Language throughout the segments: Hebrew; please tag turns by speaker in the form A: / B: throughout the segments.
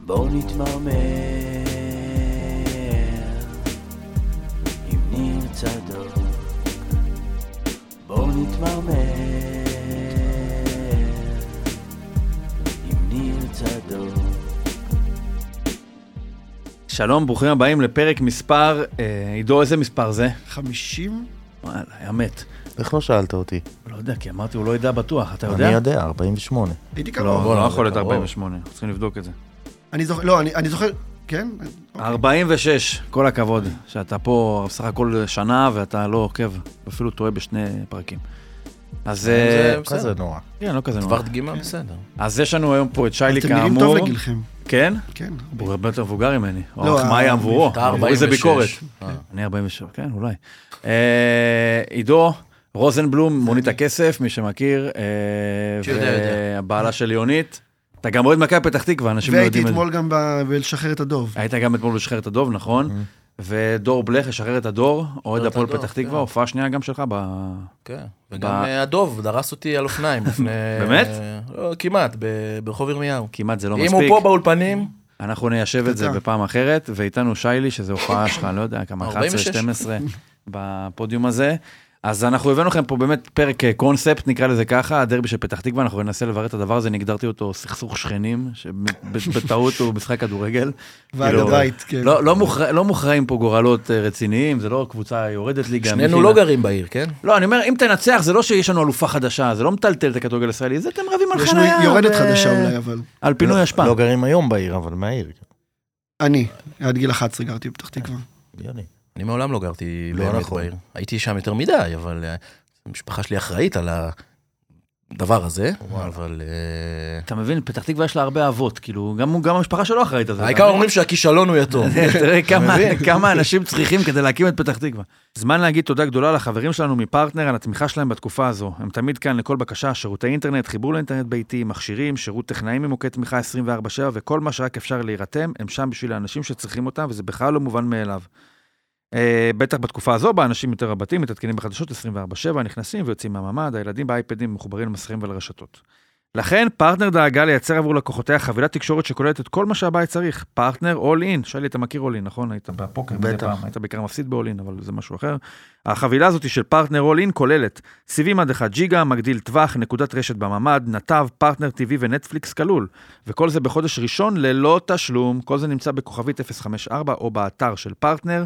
A: בואו נתמרמר עם ניר צדוק בואו נתמרמר עם ניר צדוק
B: שלום, ברוכים הבאים לפרק מספר, אה, עידו, איזה מספר זה?
C: 50?
B: וואלה, היה מת.
D: איך לא שאלת אותי?
B: לא יודע, כי אמרתי, הוא לא ידע בטוח, אתה יודע?
D: אני יודע, אה, 48.
C: הייתי
B: לא,
C: קרוב.
B: לא, לא יכול להיות
D: קרוב.
B: 48, אנחנו צריכים לבדוק את זה.
C: אני זוכר, לא, אני אני זוכר, כן?
B: אה. 46, כל הכבוד, שאתה פה בסך הכל שנה ואתה לא עוקב, אפילו טועה בשני פרקים. אז אה,
D: זה כזה נורא.
B: כן, לא כזה נורא.
D: דבר דגימה בסדר.
B: אז יש לנו היום פה את שיילי
C: אתם נראים טוב
B: כאמור.
C: לגילכם.
B: כן?
C: כן.
B: הוא הרבה יותר מבוגר ממני. או
C: לא,
B: החמאה היא
C: אה,
B: עבורו.
D: אתה
B: עבורי זה
D: 46.
B: ביקורת.
D: אה.
B: אני 47, כן, אולי. אה, עידו רוזנבלום, מונית הכסף, מי שמכיר. אה,
D: שיודע, יודע.
B: והבעלה של יונית. אתה גם אוהד מכבי פתח תקווה, אנשים לא
C: והייתי
B: יודעים את זה.
C: אתמול גם ב- בלשחרר את הדוב.
B: היית גם אתמול בשחרר את הדוב, נכון? ודור בלך, ישחרר את הדור, אוהד
D: אה. את
B: הפועל
D: הדור,
B: פתח
D: כן.
B: תקווה, הופעה שנייה גם שלך ב...
D: כן.
B: ב-
D: וגם אה, הדוב דרס אותי על אופניים לפני...
B: באמת?
D: אה, לא, כמעט, ב- ברחוב ירמיהו.
B: כמעט זה לא
D: אם הוא
B: מספיק.
D: פה באולפנים,
B: אנחנו ניישב את זה
C: קטן.
B: בפעם אחרת, ואיתנו שיילי, שזו הופעה שלך, לא יודע, כמה,
D: 46.
B: 11-12 בפודיום הזה. אז אנחנו הבאנו לכם פה באמת פרק אה, קונספט, נקרא לזה ככה, הדרבי של פתח תקווה, אנחנו ננסה לברר את הדבר הזה, אני הגדרתי אותו סכסוך שכנים, שבטעות הוא משחק כדורגל.
C: ועד
B: כאילו,
C: הבית, כן.
B: לא- לא מוכר- לא מוכרעים פה גורלות אה, רציניים, זה לא קבוצה יורדת ליגה.
D: שנינו
B: מכינה.
D: לא גרים בעיר, כן?
B: לא, אני אומר, אם תנצח, זה לא שיש לנו אלופה חדשה, זה לא מטלטל את הכדורגל הישראלי, זה אתם רבים על
C: יש
B: חניה.
C: לנו יורדת
B: ו-
C: חדשה אולי, אבל.
B: על פינוי אשפה.
D: לא
E: גרים היום בעיר, אבל מהעיר. כן.
C: אני, עד גיל 11 גרתי בפתח תקווה.
E: הגיוני.
D: אני מעולם לא גרתי
E: לא
D: באמת
E: נכון.
D: בעיר. הייתי שם יותר מדי, אבל אה, המשפחה שלי אחראית על הדבר הזה, אבל... אה,
B: אתה מבין, פתח תקווה יש לה הרבה אבות, כאילו, גם, גם המשפחה שלו אחראית על זה.
D: העיקר אומרים שהכישלון הוא יתום.
B: תראה כמה, כמה אנשים צריכים כדי להקים את פתח תקווה. זמן להגיד תודה גדולה לחברים שלנו מפרטנר על התמיכה שלהם בתקופה הזו. הם תמיד כאן לכל בקשה, שירותי אינטרנט, חיבור לאינטרנט ביתי, מכשירים, שירות טכנאים ממוקד תמיכה 24/7 וכל מה שרק אפשר להירתם, הם שם בשביל האנשים שצריכים אותם וזה בכלל לא מובן מאליו. אה, בטח בתקופה הזו, בה אנשים יותר רבתים, מתעדכנים בחדשות 24/7, נכנסים ויוצאים מהממ"ד, הילדים באייפדים מחוברים למסכים ולרשתות. לכן פרטנר דאגה לייצר עבור לקוחותיה חבילת תקשורת שכוללת את כל מה שהבית צריך. פרטנר אול אין, שלי, אתה מכיר אול אין, נכון? היית בפוקר מדי פעם, היית בעיקר מפסיד באול אין, אבל זה משהו אחר. החבילה הזאת של פרטנר אול אין כוללת סיבים עד 1 ג'יגה, מגדיל טווח, נקודת רשת בממ"ד, נתב, פרטנר TV ונטפליקס כלול. וכל זה בחודש ראשון ללא תשלום, כל זה נמצא בכוכבית 054 או באתר של פרטנר.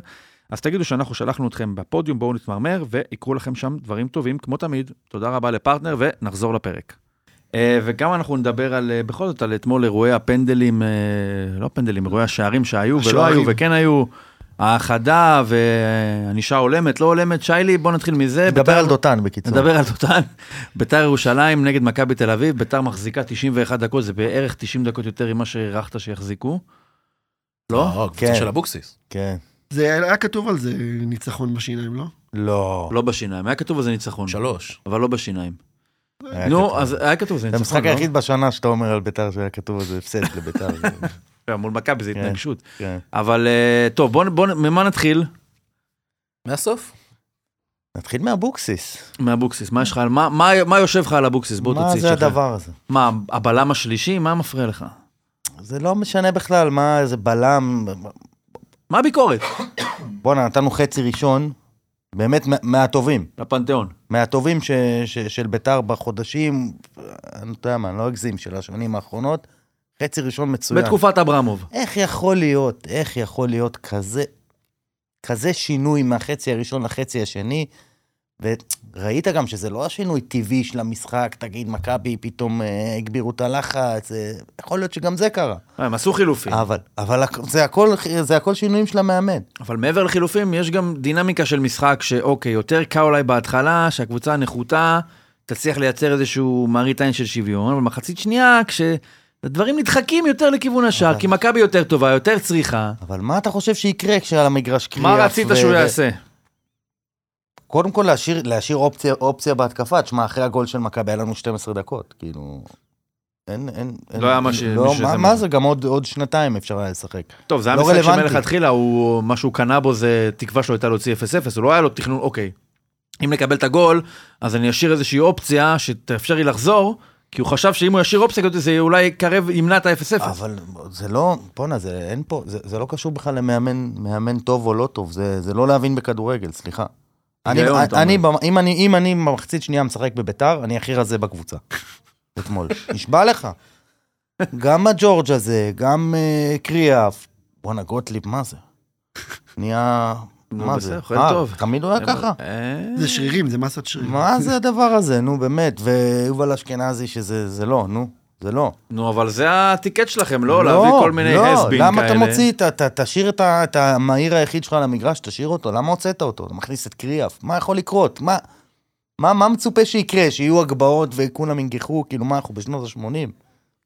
B: אז תגידו שאנחנו שלחנו אתכם בפודיום, בואו נתמרמר, ויקרו לכם שם דברים טובים, כמו תמיד. תודה רבה לפרטנר, ונחזור לפרק. אה, וגם אנחנו נדבר על, אה, בכל זאת, על אתמול אירועי הפנדלים, אה, לא הפנדלים, אירועי השערים שהיו ולא
C: השוערים.
B: היו וכן היו, האחדה וענישה הולמת, לא הולמת. שיילי, בוא נתחיל מזה.
E: נדבר
B: בית"ר-
E: על דותן בקיצור.
B: נדבר על דותן. ביתר ירושלים נגד מכבי תל אביב, ביתר מחזיקה 91 דקות, זה בערך 90 דקות יותר ממה שהערכת שיחזיקו. לא?
D: לא, קבוצה
E: כן.
D: של אבוקסיס.
E: כן.
C: זה היה כתוב על זה ניצחון בשיניים, לא?
E: לא.
B: לא בשיניים, היה כתוב על זה ניצחון,
D: שלוש.
B: אבל לא בשיניים.
E: היה
B: נו,
E: כתוב.
B: אז היה כתוב על זה
E: זה
B: ניצחון,
E: המשחק
B: לא?
E: היחיד בשנה שאתה אומר על ביתר שהיה כתוב על זה הפסד לביתר.
B: לא? מול מכבי זה
E: כן.
B: התנגשות.
E: כן.
B: אבל אה, טוב, בואו, בואו, ממה נתחיל?
D: מהסוף?
E: נתחיל מאבוקסיס.
B: מאבוקסיס, מה יש לך, על- מה- מה- מה יושב לך על אבוקסיס? בוא
E: מה
B: תוציא
E: זה
B: את שלך.
E: הדבר הזה?
B: מה, הבלם השלישי? מה מפריע לך?
E: זה לא משנה בכלל, מה איזה בלם.
B: מה הביקורת?
E: בואנה, נתנו חצי ראשון, באמת מה- מהטובים.
B: לפנתיאון.
E: מהטובים ש- ש- של ביתר בחודשים, אני לא יודע מה, אני לא אגזים, של השנים האחרונות. חצי ראשון מצוין.
B: בתקופת אברמוב.
E: איך יכול להיות, איך יכול להיות כזה, כזה שינוי מהחצי הראשון לחצי השני? וראית גם שזה לא השינוי טבעי של המשחק, תגיד, מכבי פתאום אה, הגבירו את הלחץ, אה, יכול להיות שגם זה קרה.
B: אה, הם עשו חילופים.
E: אבל, אבל הכ- זה הכל, זה הכל שינויים של המאמן.
B: אבל מעבר לחילופים, יש גם דינמיקה של משחק שאוקיי, יותר קל אולי בהתחלה, שהקבוצה הנחותה תצליח לייצר איזשהו מראית עין של שוויון, אבל מחצית שנייה, כשהדברים נדחקים יותר לכיוון השאר,
E: אוקיי.
B: כי מכבי יותר טובה, יותר צריכה,
E: אבל מה אתה חושב שיקרה כשעל המגרש קריאף?
B: מה רצית
E: ו-
B: שהוא
E: ו-
B: יעשה?
E: קודם כל להשאיר, להשאיר אופציה, אופציה בהתקפה, תשמע, אחרי הגול של מכבי היה לנו 12 דקות, כאילו... אין, אין, אין,
B: לא היה מה ש-
E: לא,
B: מי שזה
E: מה,
B: מה.
E: מה זה, גם עוד, עוד שנתיים אפשר היה לשחק.
B: טוב, זה היה
E: לא
B: משחק
E: רלוונטי.
B: שמלכתחילה, הוא- מה שהוא קנה בו זה תקווה שלו הייתה להוציא 0-0, הוא לא היה לו תכנון, אוקיי, אם נקבל את הגול, אז אני אשאיר איזושהי אופציה שתאפשר לי לחזור, כי הוא חשב שאם הוא ישאיר אופסק, זה אולי יקרב, ימנע את ה-0-0.
E: אבל זה לא, בואנה, זה אין פה, זה, זה לא קשור בכלל למאמן מאמן טוב או לא טוב, זה, זה לא להבין בכדורגל, סליחה. אני,
B: היגיון, אתה
E: אני, במ- אם אני, אם אני במחצית שנייה משחק בביתר, אני הכי רזה בקבוצה. אתמול. נשבע לך. גם הג'ורג' הזה, גם אה, קריאף. בואנה, גוטליב, מה זה? נהיה...
B: נו,
E: מה
B: בסדר,
E: זה?
B: אוכל
E: אה,
B: טוב.
E: תמיד הוא היה ככה.
B: אה,
C: זה שרירים, זה מסת שרירים.
E: מה זה הדבר הזה, נו באמת, ויובל אשכנזי שזה זה לא, נו, זה לא.
B: נו, אבל זה הטיקט שלכם, לא? להביא כל מיני הסבין כאלה.
E: למה אתה מוציא, את ה- ת- תשאיר את ה- את המהיר היחיד שלך למגרש, תשאיר אותו, למה הוצאת אותו? אתה מכניס את קריאף, מה יכול לקרות? מה, מה, מה מצופה שיקרה? שיהיו הגבהות וכולם ינגחו, כאילו מה, אנחנו בשנות ה-80?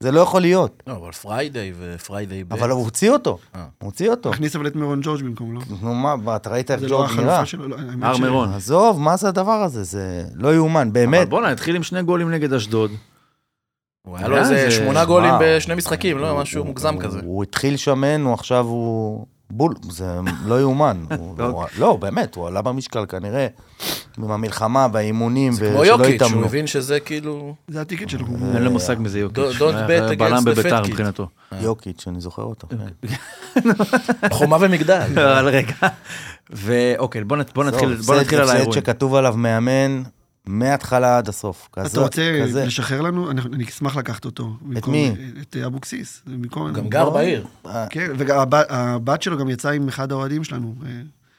E: זה לא יכול להיות.
D: לא, אבל פריידיי ופריידיי... ב-
E: אבל הוא הוציא אותו,
D: אה.
E: הוא הוציא אותו.
C: הכניס אבל את מירון ג'ורג' במקום, לא?
E: נו מה, מה, אתה ראית איך
C: זה לא
E: אה, ג'ורג' נראה?
C: החלופה שלו. לא, האמת
B: הר
C: ש-
B: מירון.
E: עזוב, מה זה הדבר הזה? זה לא יאומן,
B: אבל
E: באמת.
B: בואנה, התחיל עם שני גולים נגד אשדוד.
D: הוא היה לו
B: אה,
D: איזה
B: זה-
D: שמונה גולים
E: וואו. אה,
D: בשני משחקים, לא?
E: הוא-
D: משהו
E: הוא-
D: מוגזם
E: הוא-
D: כזה.
E: הוא התחיל שמן, הוא עכשיו הוא... בול, זה לא יאומן. הוא- הוא-
D: אוקיי.
E: לא, באמת, הוא עלה במשקל כנראה עם המלחמה והאימונים,
D: זה
E: ו-
D: כמו
E: שלא לא.
D: יוקיץ',
E: התאמנו.
D: הוא הבין שזה כאילו...
C: זה הטיקט שלו.
E: אה,
B: אין לו מושג מזה יוקיץ'.
D: Don't- don't
B: היה
D: bet against
B: בלם
D: the
B: בביתר
D: fat kid.
B: מבחינתו.
E: יוקיץ', אני זוכר אותו.
D: אוקיי.
E: כן.
D: חומה ומגדל.
B: אבל רגע. ואוקיי, בוא נת- בוא נתחיל
E: זהו,
B: בוא נתחיל על
E: הפסד-
B: האירועים.
E: הפסד שכתוב עליו מאמן מההתחלה עד הסוף. כזה-
C: אתה רוצה
E: כזה.
C: לשחרר לנו? אני- אני אשמח לקחת אותו. במקום-
E: מי?
C: את אה, אבוקסיס. במקום-
D: גם גר בעיר.
E: אה,
C: כן, והבת שלו גם יצאה עם אחד האוהדים שלנו. אה,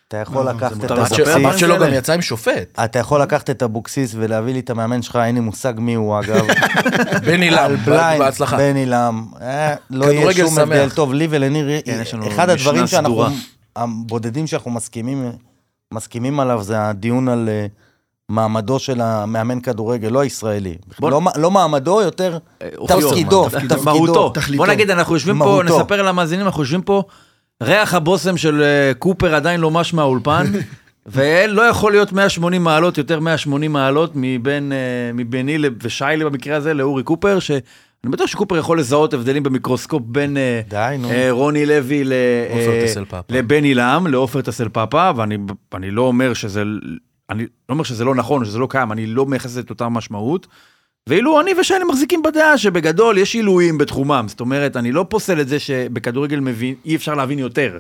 E: אתה יכול
C: לא, זה
E: לקחת את
B: מותר.
D: הבת
B: הבסיס.
D: של-
E: אבוקסיס.
D: הבת שלו
B: זה
D: גם
B: אלה.
D: יצאה עם שופט,
E: אתה יכול לקחת את אבוקסיס ולהביא לי את המאמן שלך, אין לי מושג מי הוא אגב.
D: בני
E: על
D: לאם,
E: בליינד,
D: בהצלחה. לא
E: בן אילם, אה, לא יהיה
D: כדורגל
E: שום הבדל
D: שמח.
E: טוב, לי ולניר, אה,
B: כן, יש לנו
E: אחד
B: משנה
E: הדברים שאנחנו,
B: סדורה.
E: הבודדים שאנחנו מסכימים, מסכימים עליו זה הדיון על אה, מעמדו של המאמן כדורגל, לא הישראלי.
B: בוא-
E: לא מע- לא מעמדו, יותר
B: אה, אופיו.
E: תפקידו,
C: תפקידו.
E: תפקידו.
B: מהותו.
C: תכליתו.
B: בוא נגיד, אנחנו יושבים פה,
E: מהותו.
B: נספר למאזינים, אנחנו יושבים פה, ריח הבושם של אה, קופר עדיין לא מש מהאולפן, ולא יכול להיות 180 מעלות, יותר 180 מעלות מבין, אה, מביני לב- ושיילי במקרה הזה לאורי קופר, שאני בטוח שקופר יכול לזהות הבדלים במיקרוסקופ בין אה,
E: די, נו.
B: אה, רוני לוי ל-
D: עופר
B: אה,
D: טסל פאפה.
B: לבני לעם, לעופר טסל פאפה, ואני אני לא אומר שזה... אני לא אומר שזה לא נכון, שזה לא קיים, אני לא מייחס את אותה משמעות. ואילו אני ושיילי מחזיקים בדעה שבגדול יש עילויים בתחומם, זאת אומרת, אני לא פוסל את זה שבכדורגל מבין, אי אפשר להבין יותר.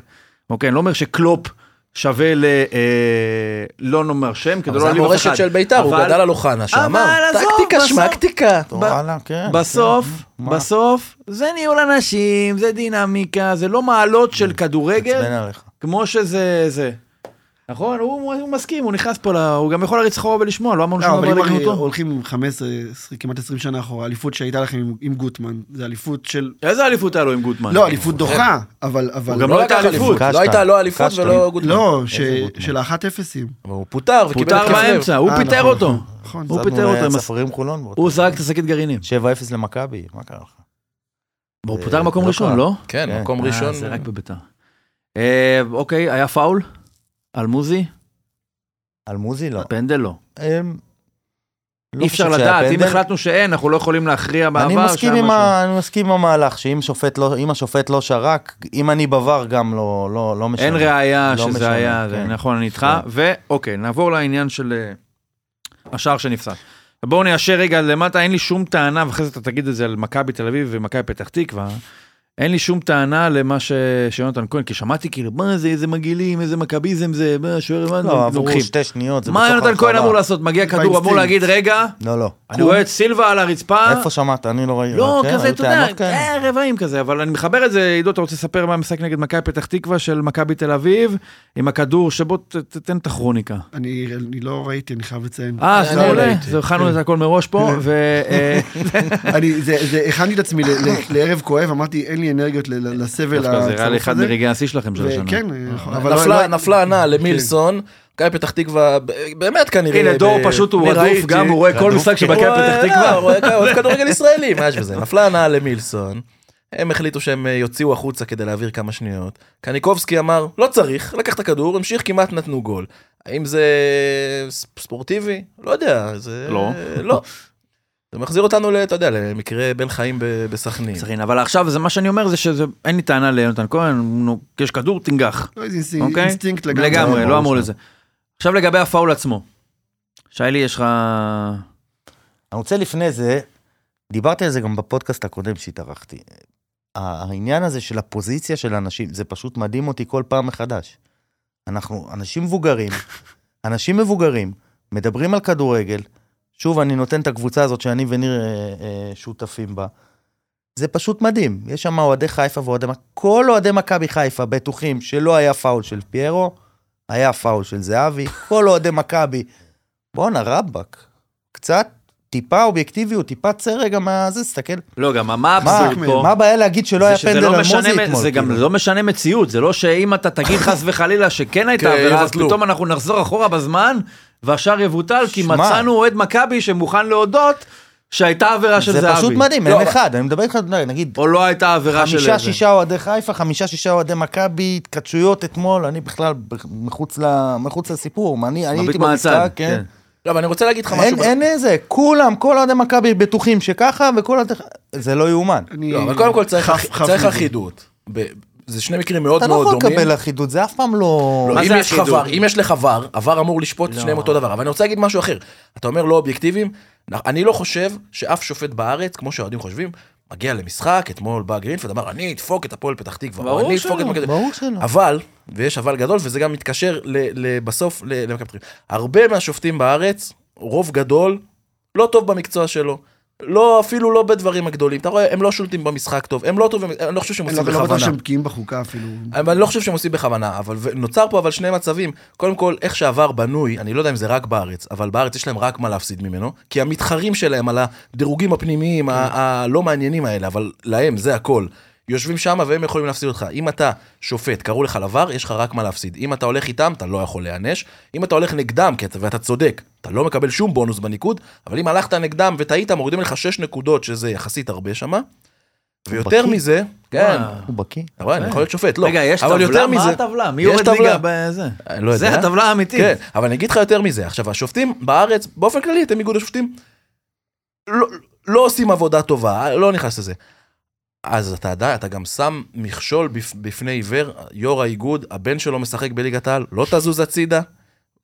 B: אוקיי, אני לא אומר שקלופ שווה ל... אה, לא נאמר שם, כדי
D: אבל
B: לא
D: זה
B: להעליב אף אחד.
D: המורשת של ביתר, הוא
B: אבל-
D: גדל על אוחנה, שאמר,
B: אבל עזוב,
D: טקטיקה
B: בסוף-
D: שמקטיקה.
E: טוב, וואלה, כן,
B: בסוף,
E: כן, מה?
B: בסוף, זה ניהול אנשים, זה דינמיקה, זה לא מעלות של
E: מעצבן
B: כדורגל,
E: עליך.
B: כמו שזה זה. נכון? הוא הוא מסכים, הוא נכנס פה, ל- הוא גם יכול להריץ אחורה ולשמוע, לא אמרנו
C: לא,
B: שום
C: אבל
B: דבר
C: אם הרי
B: לגנותו.
C: הולכים 15, 20, כמעט 20 שנה אחורה, אליפות שהייתה לכם עם- עם גוטמן, זה אליפות של...
B: איזה אליפות היה לו עם גוטמן?
C: לא, אליפות דוחה, אבל... אבל-
B: גם לא
D: לא
B: הייתה
D: לקח
B: אליפות.
D: אליפות,
E: קשטן.
D: לא הייתה לא אליפות
E: קשטן.
D: ולא גודמן.
C: לא, ש- של האחת אפסים.
D: אבל הוא פוטר וקיבל
B: פוטר
D: התקף לב.
B: באמצע, הוא
C: אה,
B: פיטר
C: נכון,
B: אותו.
C: נכון.
B: הוא
E: צדנו
B: פיטר אותו, הם-
E: לצפרים אה, חולון, באותו-
B: הוא זרק את השקית גרעינים.
E: 7-0 למכבי, מה קרה לך?
B: הוא פוטר מקום
E: לא
B: ראשון,
E: קרה.
B: לא?
D: כן,
E: כן.
D: מקום
B: אה,
D: ראשון.
B: זה רק בביתר. אה, אוקיי, היה פאול? על מוזי?
E: על מוזי לא.
B: פנדל לא.
E: הם- לא
B: אי אפשר
E: חושב שהיה
B: לדעת, אם
E: פנדל.
B: החלטנו שאין, אנחנו לא יכולים להכריע בעבר.
E: אני מסכים,
B: שהיה
E: עם
B: משהו.
E: ה... אני מסכים עם המהלך, שאם שופט לא, אם השופט לא שרק, אם אני בוואר גם לא, לא, לא משנה.
B: אין ראייה
E: לא
B: שזה
E: משנה,
B: היה,
E: כן.
B: זה נכון, אני איתך. ואוקיי, נעבור לעניין של אה, השער שנפסל. בואו ניישר רגע למטה, אין לי שום טענה, ואחרי זה אתה תגיד את זה על מכבי תל אביב ומכבי פתח תקווה. אין לי שום טענה למה ש... שיונתן כהן, כי שמעתי כאילו, מה זה, איזה מגעילים, איזה מכביזם זה, מה, שוער, מה,
E: לא,
B: זה,
E: עברו
B: לוקחים.
E: שתי שניות, זה
B: מה
E: בתוך
B: יונתן כהן
E: הרחבה.
B: אמור לעשות? מגיע כדור, אמור
C: באינסטינקט.
B: להגיד, רגע,
E: לא, לא.
B: אני רואה את סילבה על הרצפה,
E: איפה שמעת? אני לא ראיתי.
B: לא,
E: כן,
B: כזה,
E: היו
B: אתה יודע,
E: טענות כאלה.
B: אה, רבעים כזה, אבל אני מחבר את זה, עידו, אתה רוצה לספר מה המשחק נגד מכבי פתח תקווה של מכבי תל אביב, עם הכדור שבו ת- תתן את הכרוניקה.
C: אני אני לא ראיתי, אני חייב לציין.
B: אה,
D: אני
B: זה
D: לא
B: עולה,
D: ראיתי.
B: זה הכנו את הכל מראש פה, ו... אה,
C: אני, זה, זה, הכנתי את עצמי ל- ל- לערב כואב, אמרתי, אין לי אנרגיות ל- ל- לסבל
B: דווקא זה נראה לי
C: הצרוף
B: אחד
C: הזה.
B: מרגעי השיא שלכם של
C: ו-
B: השנה. אה,
C: כן, נכון, אבל לא-
D: נפלה,
C: לא-
D: נפלה ענה למילסון, מכבי פתח תקווה, ב- באמת כנראה.
B: הנה,
D: ב-
B: דור פשוט הוא
D: אני
B: רדוף
D: ראיתי.
B: גם, הוא רואה כל
E: רדוף,
B: משחק של
D: הוא
B: מכבי פתח
D: לא,
B: תקווה.
D: הוא רואה כ- אוהב כדורגל ישראלי, מה יש בזה? נפלה הנאה למילסון, הם החליטו שהם אה, יוציאו החוצה כדי להעביר כמה שניות. קניקובסקי אמר, לא צריך, לקח את הכדור, המשיך, כמעט נתנו גול. האם זה ס- ספורטיבי? לא יודע, זה...
B: לא.
D: לא. זה מחזיר אותנו, ל- אתה יודע, למקרה בן חיים ב- בסכנין.
B: סכנין, אבל עכשיו זה מה שאני אומר זה שזה אין לי טענה ליונתן כהן נו, יש כדור תנגח
C: לא, זה אינסטינקט-
B: אוקיי?
C: אינסטינקט לגמרי.
B: לגמרי לא
E: ברור
B: אמרו
E: שלא.
B: לזה. עכשיו לגבי הפאול עצמו. שיילי יש לך
E: אני רוצה לפני זה, דיברתי על זה גם בפודקאסט הקודם שהתארחתי. העניין הזה של הפוזיציה של אנשים, זה פשוט מדהים אותי כל פעם מחדש. אנחנו אנשים מבוגרים, אנשים מבוגרים, מדברים על כדורגל, שוב, אני נותן את הקבוצה הזאת שאני וניר אה, אה, שותפים בה. זה פשוט מדהים, יש שם אוהדי חיפה ואוהדי... מכ- כל אוהדי מכבי חיפה בטוחים שלא היה פאול של פיירו, היה פאול של זהבי, כל אוהדי מכבי. בואנה, רבאק, קצת, טיפה אובייקטיביות, טיפה צא רגע מה... זה, תסתכל.
B: לא, גם מה
E: מה,
B: האבסורד פה?
E: מה הבעיה להגיד שלא היה
B: שזה לא
E: פנדל על
B: משנה-
E: מוזי אתמול?
B: זה גם
E: כאילו?
B: לא משנה מציאות, זה לא שאם אתה תגיד חס וחלילה שכן הייתה
D: כן,
B: עבירה, אז
D: יבטלו.
B: פתאום אנחנו נחזור אחורה בזמן, והשאר יבוטל, כי
E: שמע.
B: מצאנו אוהד מכבי שמוכן להודות שהייתה עבירה של
E: זה
B: זהבי.
E: פשוט מדהים,
D: לא,
E: אין
D: אבל-
E: אחד, אני מדבר איתך, נגיד,
B: או לא הייתה עבירה של
E: חמישה,
B: איזה.
E: שישה אוהדי חיפה, חמישה, שישה אוהדי מכבי, התכתשויות אתמול, אני בכלל ב- מחוץ ל- מחוץ לסיפור, מה, אני אני
B: מביט
E: הייתי
B: מהצד,
E: במשחק,
B: כן.
E: כן.
D: לא, אבל אני רוצה להגיד לך משהו.
E: אין- אין איזה, כולם, כל אוהדי מכבי בטוחים שככה, וכל אוהדי... זה לא יאומן.
C: אני...
D: לא, אבל קודם כל צריך
C: חף-
D: אח-
C: חף
D: צריך
C: מזה.
D: אחידות. ב- זה שני מקרים מאוד
E: אתה לא
D: מאוד
E: יכול
D: דומים.
E: לקבל אחידות, זה אף פעם לא...
D: לא,
B: מה
D: אם
B: זה
D: יש לך
B: אחידות?
D: ור, אם יש לך ור, הוור אמור לשפוט לא. שניהם אותו דבר. אבל אני רוצה להגיד משהו אחר. אתה אומר לא אובייקטיביים, נ- אני לא חושב שאף שופט בארץ, כמו שהאוהדים חושבים, מגיע למשחק, אתמול בא גרינפלד, אמר, אני אדפוק את הפועל פתח תקווה, או
B: ברור
D: אני אדפוק
B: שלא,
D: את מכבי תל אביב."
E: ברור שלא.
D: אבל, ויש אבל גדול, וזה גם מתקשר ל, ל, בסוף ל- למכבי תל אביב. הרבה מהשופטים בארץ, רוב גדול, לא טוב במקצוע שלו. לא, אפילו לא בדברים הגדולים. אתה רואה, הם לא שולטים במשחק טוב, הם לא טובים, אני לא חושב שהם
C: אני לא-
D: עושים
C: לא
D: בכוונה.
C: בטוח שהם בקיאים בחוקה אפילו.
D: אבל אני לא חושב שהם עושים בכוונה, אבל ו- נוצר פה אבל שני מצבים. קודם כל, איך שעבר בנוי, אני לא יודע אם זה רק בארץ, אבל בארץ יש להם רק מה להפסיד ממנו, כי המתחרים שלהם על הדירוגים הפנימיים, ה- הלא מעניינים האלה, אבל להם זה הכל. יושבים שם והם יכולים להפסיד אותך. אם אתה שופט, קראו לך לבר, יש לך רק מה להפסיד. אם אתה הולך איתם, אתה לא יכול להיענש. אם אתה הולך נגדם, כי אתה, ואתה צודק, אתה לא מקבל שום בונוס בניקוד, אבל אם הלכת נגדם וטעית, מורידים לך 6 נקודות, שזה יחסית הרבה שמה. ויותר
E: בקיא.
D: מזה, כן,
E: הוא בקיא.
D: אתה רואה, אני יכול להיות שופט, לא.
B: רגע, יש
D: אבל יותר
B: טבלה? מה
D: מזה-
B: הטבלה? מי
D: יש
B: יורד
D: טבלה.
B: ליגה בזה?
D: אני לא יודע.
B: זה הטבלה האמיתית.
D: כן, אבל אני אגיד לך יותר מזה. עכשיו, השופטים בארץ, באופן כללי, אתם איגוד השופטים, לא- לא עושים עבודה טובה, לא נכנס לזה. אז אתה יודע, אתה גם שם מכשול בפ- בפני עיוור, יו"ר האיגוד, הבן שלו משחק בליגת העל, לא תזוז הצידה.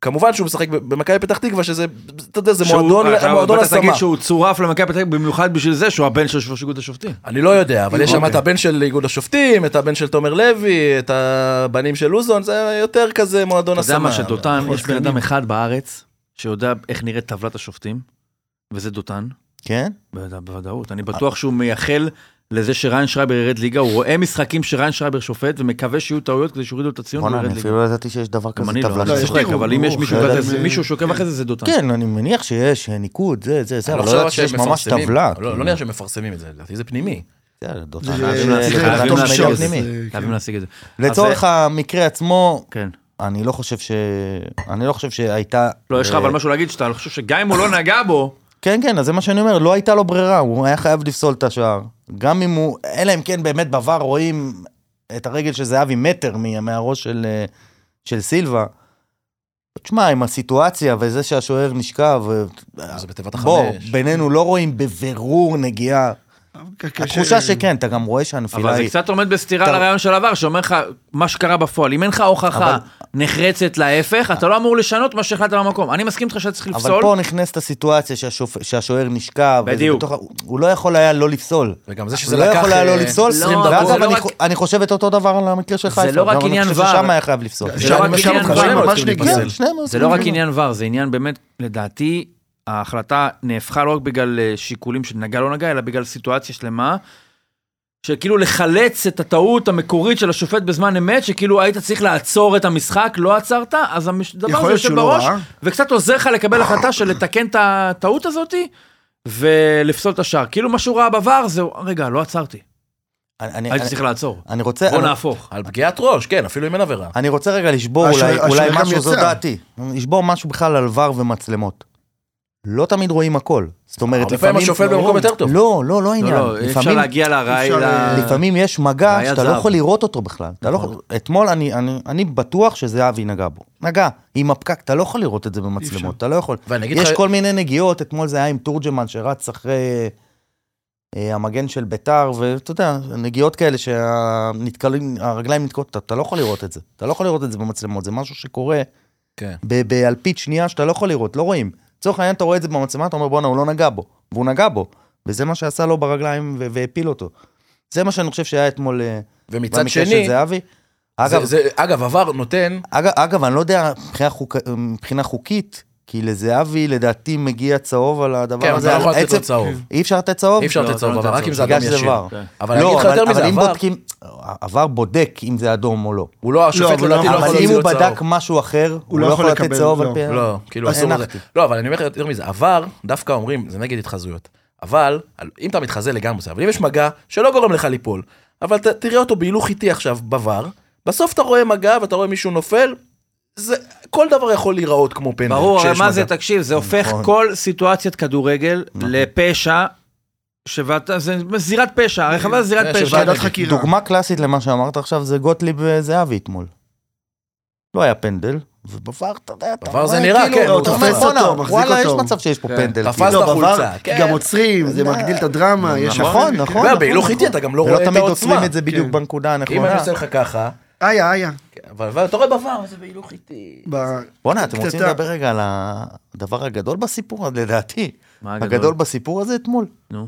D: כמובן שהוא משחק ב- במכבי פתח תקווה, שזה, אתה יודע, זה
B: שהוא- אה,
D: מועדון
B: אתה-
D: מועדון
B: ואתה תגיד
D: השמה.
B: שהוא צורף למכבי פתח תקווה במיוחד בשביל זה שהוא הבן של שלוש איגוד השופטים.
D: אני לא יודע, אבל יש שם
C: אוקיי.
D: את הבן של איגוד השופטים, את הבן של תומר לוי, את הבנים של לוזון, זה יותר כזה מועדון
B: אתה
D: הסמה.
B: יודע מה שדותן,
D: אבל-
B: יש בן אדם אחד בארץ שיודע איך נראית טבלת השופטים, וזה דותן.
E: כן?
B: בוודא- בוודאות, אני בטוח שהוא מייחל לזה שריין שרייבר ירד ליגה, הוא רואה משחקים שריין שרייבר שופט ומקווה שיהיו טעויות כדי שיורידו את הציון
E: בואנה,
B: והוא ירד
E: אני
B: ליגה.
E: אפילו לא ידעתי שיש דבר
B: גם
E: כזה
B: אני לא,
E: טבלה.
B: אני
C: לא, יש
E: כזאת.
B: צוחק,
C: דירוג,
B: אבל אם יש
C: ברור,
B: מישהו
E: לא
B: כזה-
E: יודע, זה-
B: מישהו שעוקב אחרי זה, זה דותן.
E: כן, אני מניח שיש אה, ניקוד, זה, זה, זה,
D: אני
E: אבל
D: לא
E: לא
D: חושב
E: ידעתי שיש
D: שהם
E: ממש
D: מפרסמים.
E: טבלה. כן,
D: לא לא נראה שהם מפרסמים את זה, לדעתי זה פנימי.
E: יאללה, דותן,
C: זה-
E: אז
C: זה-
E: אה, זה-
C: זה-
E: זה-
C: זה-
B: חייבים
E: לחתום
C: זה-
B: להשיג
E: מידע
B: אה, את זה.
E: פנימי.
C: זה-
B: חייבים להשיג את זה. אז
E: לצורך
B: זה-
E: המקרה עצמו,
B: כן.
E: אני לא חושב ש... אני לא חושב שהייתה...
B: לא, יש לך
E: אה,
B: אבל משהו להגיד שאתה אני חושב שגם אם הוא לא נגע בו,
E: כן, כן, אז זה מה שאני אומר, לא הייתה לו ברירה, הוא היה חייב לפסול את השער. גם אם הוא... אלא אם כן באמת בVAR רואים את הרגל של זהבי מטר מה- מהראש של, אה, של סילבה. תשמע, עם הסיטואציה וזה שהשוער נשכב, אה,
D: זה בתיבת
E: בוא,
D: החמש.
E: בינינו לא רואים בבירור נגיעה.
C: קשה-
E: התחושה שכן, אתה גם רואה שהנפילה
B: אבל זה
E: היא...
B: קצת עומד בסתירה
E: אתה-
B: לרעיון של עבר, שאומר לך מה שקרה בפועל. אם אין לך הוכחה נחרצת להפך, אתה לא אמור לשנות מה שהחלטת במקום. אני מסכים איתך שאתה צריך
E: אבל
B: לפסול.
E: פה נכנסת הסיטואציה שהשופ- שהשוער נשכב. וזה
B: בדיוק.
E: בתוך ה- הוא לא יכול היה לא לפסול.
D: וגם זה שזה
E: הוא לא
D: לקח...
E: יכול היה לא
D: אה,
E: לפסול.
B: לא, אבל זה
E: ואגב,
B: לא
E: אני
B: רק-
E: חו- אני חושב את אותו דבר על המקרה של חיפה.
B: לא רק
E: גם אני
B: עניין
E: חושב
B: VAR.
E: ששם היה חייב לפסול.
B: זה לא
D: שאני
B: רק
D: משם
B: עניין
D: אותך,
B: VAR,
D: שניהם
B: ממש
D: רוצים
C: נגיעה.
D: להיפסל.
E: שניהם
B: זה
E: עושים
B: לא רק
E: אותו
C: אוקיי.
B: עניין ור, זה עניין באמת, לדעתי, ההחלטה נהפכה לא רק בגלל אה, שיקולים של נגע לא נגע, אלא בגלל סיטואציה שלמה, שכאילו לחלץ את הטעות המקורית של השופט בזמן אמת, שכאילו היית צריך לעצור את המשחק, לא עצרת, אז הדבר הזה
C: יכול להיות
B: יושב
C: שהוא לא
B: בראש,
C: ראה.
B: וקצת עוזר לך לקבל החלטה של לתקן את הטעות הזאתי, ולפסול את השער. כאילו מה שהוא ראה בVAR זה, רגע, לא עצרתי,
E: דבר. אני-
C: אה,
B: הייתי
E: אני-
B: צריך לעצור.
E: אני רוצה...
B: בוא
E: אני-
B: נהפוך.
D: על פגיעת ראש, כן, אפילו אם אין עבירה.
E: אני רוצה רגע לשבור
C: השוער-
E: אולי- אולי
C: השוער גם
E: משהו, זו
C: יצא.
E: דעתי. לשבור משהו בכלל על ור ומצלמות. לא תמיד רואים הכל. זאת אומרת,
D: הרבה פעמים
E: לפעמים...
D: השופט במקום יותר טוב.
E: לא, לא, לא
C: אה,
B: לא,
E: העניין.
B: לא, אי אפשר
E: לפעמים-
B: להגיע לרעי...
C: אפשר אה,
B: ל-
E: לפעמים יש מגע
B: בעיית
E: שאתה לא
B: זהב. נכון.
E: יכול לראות אותו בכלל. אתה לא יכול- אתמול אני- אני אני בטוח שזהבי נגע בו. נגע, עם הפקק, אתה לא יכול לראות את זה במצלמות, אתה לא יכול.
D: ואני אגיד לך...
E: יש כל מיני נגיעות, אתמול זה היה עם תורג'מן שרץ אחרי אה, המגן של ביתר, ואתה יודע, נגיעות כאלה שהרגליים נתקעות, אתה- אתה לא יכול לראות את זה. אתה לא יכול לראות את זה במצלמות, זה משהו שקורה
D: כן.
E: ב- באלפית שנייה שאתה לא יכול לראות, לא רואים. לצורך העניין אתה רואה את זה במצלמה, אתה אומר בואנה, הוא לא נגע בו, והוא נגע בו. וזה מה שעשה לו ברגליים ו- והפיל אותו. זה מה שאני חושב שהיה אתמול אה,
D: ומצד
E: במקרה של
D: שני,
E: זהבי.
D: אגב,
E: אגב,
D: זה, אגב, עבר נותן,
E: אגב, אגב, אני לא יודע מבחינה, חוק... מבחינה חוקית, כי לזהבי לדעתי מגיע צהוב על הדבר
D: כן,
E: הזה.
D: אתה לא
E: על
D: יכול לתת לו
E: עצם-
D: צהוב.
E: אי אפשר לתת צהוב?
D: אי אפשר
B: לא, אתה
D: לתת
B: לא
D: צהוב,
B: נותן
D: אבל רק
B: צהוב.
D: אם זה
E: בגלל
D: אדם
E: שזה
D: ישיר.
E: עבר.
D: אבל אני אגיד לך
E: לא, אבל-
D: יותר מזה,
E: אבל אם
D: עבר,
E: בודקים, עבר בודק אם זה אדום או לא.
D: הוא לא,
C: לא,
D: השופט
C: אבל
D: לדעתי
C: לא
D: לא
C: יכול
D: יכול
E: אבל
D: להוציא
E: אם הוא
D: לו צהוב.
E: בדק משהו אחר, הוא לא יכול לתת
C: לקבל,
E: צהוב על
C: לא.
E: פי... ה-
D: לא, כאילו
E: אז
D: אסור לזה.
E: הנחתי.
D: לא, אבל אני אומר לך יותר מזה, עבר, דווקא אומרים, זה נגד התחזויות. אבל, על- אם אתה מתחזה לגמרי, זה, אבל אם יש מגע שלא גורם לך ליפול, אבל ת- תראה אותו בהילוך איטי עכשיו בVAR, בסוף אתה רואה מגע ואתה רואה מישהו נופל, זה, כל דבר יכול להיראות כמו פנדל.
B: ברור,
D: כן, כשיש
B: אבל מה
D: מגע.
B: זה, תקשיב, זה הופך
E: נכון.
B: כל סיטואציית כדורגל לפשע, שבאת, זה זירת פשע, הרחבה זה זירת
D: זה
B: פשע.
D: שבאת-
C: ועדת חקירה.
E: דוגמה קלאסית למה שאמרת עכשיו זה גוטליב וזהבי אתמול. לא היה פנדל, ובבר אתה יודע, אתה
D: בVAR
E: רואה
D: זה נראה,
E: כאילו,
D: כן, הוא
E: אתה
D: תופס
E: אומר,
C: אותו,
E: "בואנה,
C: מחזיק
E: וואלה, יש
C: אותו."
E: מצב שיש פה
B: כן.
E: פנדל.
D: תפס
E: כאילו.
D: את
C: לא, בVAR,
D: החולצה,
C: כי
D: כן.
C: גם עוצרים, זה מגדיל את הדרמה. יש
E: נכון,
C: שם-
E: נכון.
D: לא,
E: נכון,
D: בהילוך איטי
E: נכון.
D: אתה גם לא
E: ולא
D: רואה את
E: תמיד
D: העוצמה.
E: עוצרים את זה נכון. בדיוק
C: כן.
E: בנקודה
D: אם אני
E: הנכונה.
D: עושה לך ככה,
C: איה, איה.
D: כן, אבל אבל אתה רואה בVAR, זה בהילוך איטי.
C: ב-
E: בואנה, אתם רוצים
C: קטטה.
E: לדבר רגע על הדבר הגדול בסיפור, הזה, לדעתי.
B: מה הגדול?
E: הגדול בסיפור הזה אתמול.
B: נו.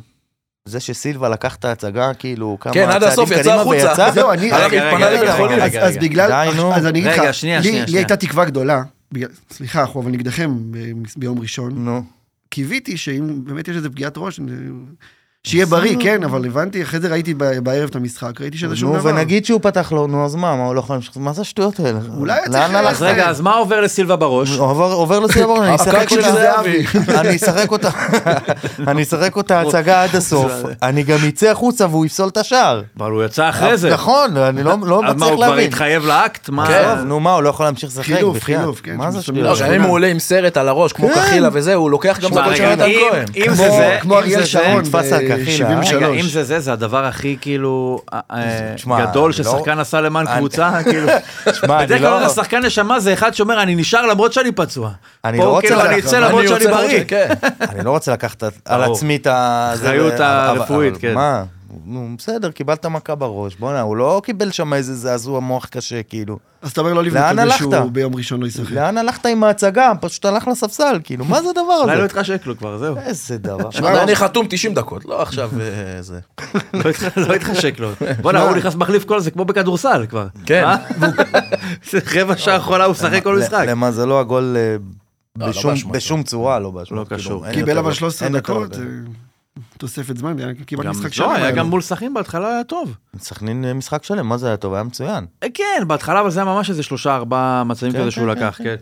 E: זה שסילבה לקח את ההצגה, כאילו, כמה
D: כן,
E: צעדים
D: עד
E: קדימה
D: הסוף, יצא החוצה. לא,
E: ויצא.
C: זהו, אני-
D: הלך
B: אה, רגע,
D: להתפנה
B: רגע,
D: לבית
B: רגע,
D: חולים.
B: רגע,
C: אז, אז בגלל,
E: די, נו.
C: אז אני אגיד לך,
B: רגע, שנייה,
C: לי,
B: שנייה,
C: לי
B: שנייה.
C: הייתה תקווה גדולה, בגלל, סליחה, אנחנו אבל נגדכם ב- ביום
B: Mm.
C: ראשון,
E: נו.
C: קיוויתי שאם באמת יש איזה פגיעת ראש, שיהיה בריא, כן, אבל הבנתי, אחרי זה ראיתי ב- בערב את המשחק, ראיתי
D: לא
C: שזה שום
E: נו,
C: דבר.
E: ונגיד שהוא פתח לו, נו, אז מה, מה הוא לא יכול להמשיך? מה זה השטויות האלה?
C: אולי הוא
E: לאן
C: צריך
E: הלכת?
B: אז רגע, אז מה עובר לסילבה בראש?
E: עובר עובר לסילבה, אני אשחק
D: של
E: אותה,
D: זהבי.
E: אני אשחק אותה, אני אשחק אותה הצגה עד הסוף, אני גם אצא החוצה והוא יפסול את השער.
B: אבל הוא יצא אחרי זה.
E: נכון, אני לא לא
B: אז מה,
E: מצליח
B: הוא כבר
E: להבין.
B: התחייב אה. לאקט? מה?
D: כן.
E: עזוב, נו מה, הוא לא יכול להמשיך לשחק,
C: חילוף,
E: בחייאת.
C: חילוף, כן,
E: מה זה
C: שמסתובב.
E: השטויות?
D: לא, גם אם הוא עולה עם סרט על הראש, כמו
E: כן.
D: קחילה וזה, הוא לוקח גם את
B: תשמע,
D: הכל של
B: רגע,
D: יונתן
B: אם-
D: כהן.
B: אם
E: כמו-
B: זה זה,
C: כמו
B: אם
C: אריאל
B: זה זה-
C: שרון
E: נתפס הקחילה,
B: אה, רגע,
C: ב-73.
B: אם זה זה, זה הדבר הכי כאילו אה, אה,
E: תשמע,
B: גדול
E: לא-
B: ששחקן עשה למען
E: אני-
B: קבוצה, כאילו.
E: שמע, אני
B: בדרך
E: לא-
B: כלל השחקן נשמה זה אחד שאומר אני נשאר למרות שאני פצוע.
E: אני לא
B: פה
E: רוצה
B: כאילו אני
E: ללכת,
B: אצא
E: אבל
B: למרות
D: אני
B: שאני
D: יוצא למרות
B: בריא.
D: ש- כן.
E: אני לא רוצה לקחת על
B: ברור.
E: עצמי את ה... זה,
B: אחריות
E: אבל- אבל-
B: הרפואית,
E: אבל
B: כן.
E: מה? נו, בסדר, קיבלת מכה בראש, בואנה, הוא לא קיבל שם איזה זעזוע מוח קשה, כאילו.
C: אז אתה אומר לא לבנות
E: לאן
C: על זה
E: הלכת?
C: שהוא ביום ראשון לא ישחק.
E: לאן הלכת עם ההצגה? פשוט הלך לספסל, כאילו, מה זה הדבר
B: אולי לא
E: הזה?
B: התחשק לו כבר, זהו.
E: איזה דבר.
D: שמע, לא. אני חתום 90 דקות, לא עכשיו אה, זה.
B: לא התח- לא התחשק לו. בוא'נה,
C: שמע.
B: הוא נכנס מחליף כל זה כמו בכדורסל כבר.
D: כן.
B: אה? זה רבע שעה אחרונה הוא משחק כל
E: ל-
B: משחק.
E: למזלו הגול אה,
D: לא
E: בשום-
D: באשמתו.
E: בשום צורה לא באשמתו.
B: לא קשור.
C: קיבל אבל 13 דקות, אה, תוספת זמן, היה כמעט
B: גם-
C: משחק שלם.
B: לא, היה
C: היה לו.
B: גם מול סכין בהתחלה היה טוב.
E: סכנין אה, משחק שלם, מה זה היה טוב? היה מצוין.
B: אה, כן, בהתחלה, אבל זה היה ממש איזה שלושה, ארבעה מצבים
E: כן,
B: כזה
E: כן,
B: שהוא
E: כן,
B: לקח, כן.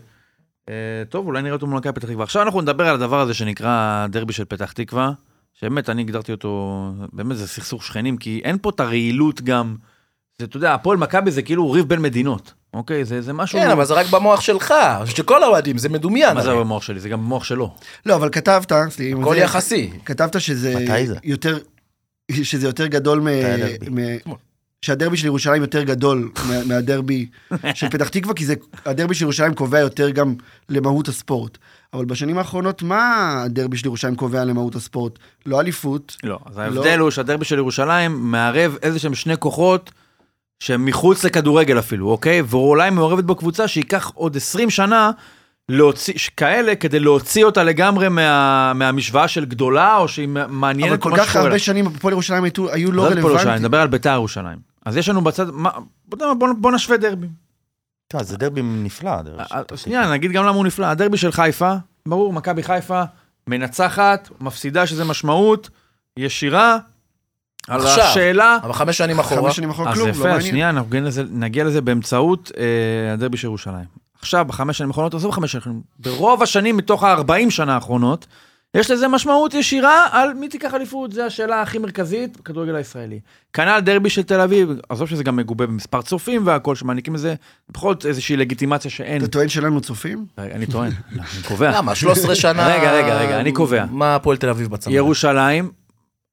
B: אה, טוב, אולי נראה אותו מול מכבי פתח תקווה. עכשיו אנחנו נדבר על הדבר הזה שנקרא דרבי של פתח תקווה, שבאמת, אני הגדרתי אותו, באמת זה סכסוך שכנים, כי אין פה את הרעילות גם. זה, אתה יודע, הפועל מכבי זה כאילו ריב בין מדינות, אוקיי? זה זה משהו...
D: כן, אבל זה רק במוח שלך, של כל האוהדים, זה מדומיין.
B: מה זה
D: הרי.
B: במוח שלי? זה גם במוח שלו.
C: לא, אבל כתבת, סליחה, עם
D: הכל
C: זה-
D: יחסי.
C: כתבת שזה
E: מתי זה?
C: יותר, שזה יותר גדול מ...
E: הדרבי.
C: מ... שהדרבי של ירושלים יותר גדול מה- מהדרבי של פתח תקווה, כי זה, הדרבי של ירושלים קובע יותר גם למהות הספורט. אבל בשנים האחרונות, מה הדרבי של ירושלים קובע למהות הספורט? לא אליפות.
B: לא, אז ההבדל הוא שהדרבי של ירושלים מערב איזה שהם שני כוחות שהם מחוץ לכדורגל אפילו, אוקיי? ואולי מעורבת בו קבוצה שייקח עוד 20 שנה להוציא, ש- כאלה, כדי להוציא אותה לגמרי מה, מהמשוואה של גדולה, או שהיא מעניינת
C: אבל כל כך הרבה שנים הפועל ירושלים היו, היו לא
B: לא ירושלים,
C: רלוונטיים.
B: נדבר על ביתר ירושלים. אז יש לנו בצד, מה, בוא, נ- בוא, נ- בוא נשווה דרבים.
C: אה,
E: תשמע, זה דרבי נפלא. הדרבי של
B: אה,
E: פתח
B: שנייה, נגיד גם למה הוא נפלא. הדרבי של חיפה, ברור, מכבי חיפה מנצחת, מפסידה שזה משמעות, ישירה, על
D: עכשיו.
B: השאלה.
D: אבל חמש שנים אחורה,
C: חמש שנים אחורה
B: אז
C: כלום, לא
B: יפה,
C: מעניין.
B: שנייה, אנחנו נגיע לזה, נגיע לזה באמצעות אה, הדרבי של ירושלים. עכשיו, בחמש שנים האחרונות, עזוב חמש שנים, ברוב השנים מתוך ה-40 שנה האחרונות, יש לזה משמעות ישירה על מי תיקח אליפות, זו השאלה הכי מרכזית בכדורגל הישראלי. כנ"ל דרבי של תל אביב, עזוב שזה גם מגובה במספר צופים והכל, שמעניקים לזה בכל זאת איזושהי לגיטימציה שאין.
C: אתה טוען שלנו צופים?
B: רגע, אני טוען, לא, אני קובע.
D: למה? 13 שנה...
B: רגע, רגע, רגע, אני קובע.
D: מה הפועל תל אביב בצמרת?
B: ירושלים,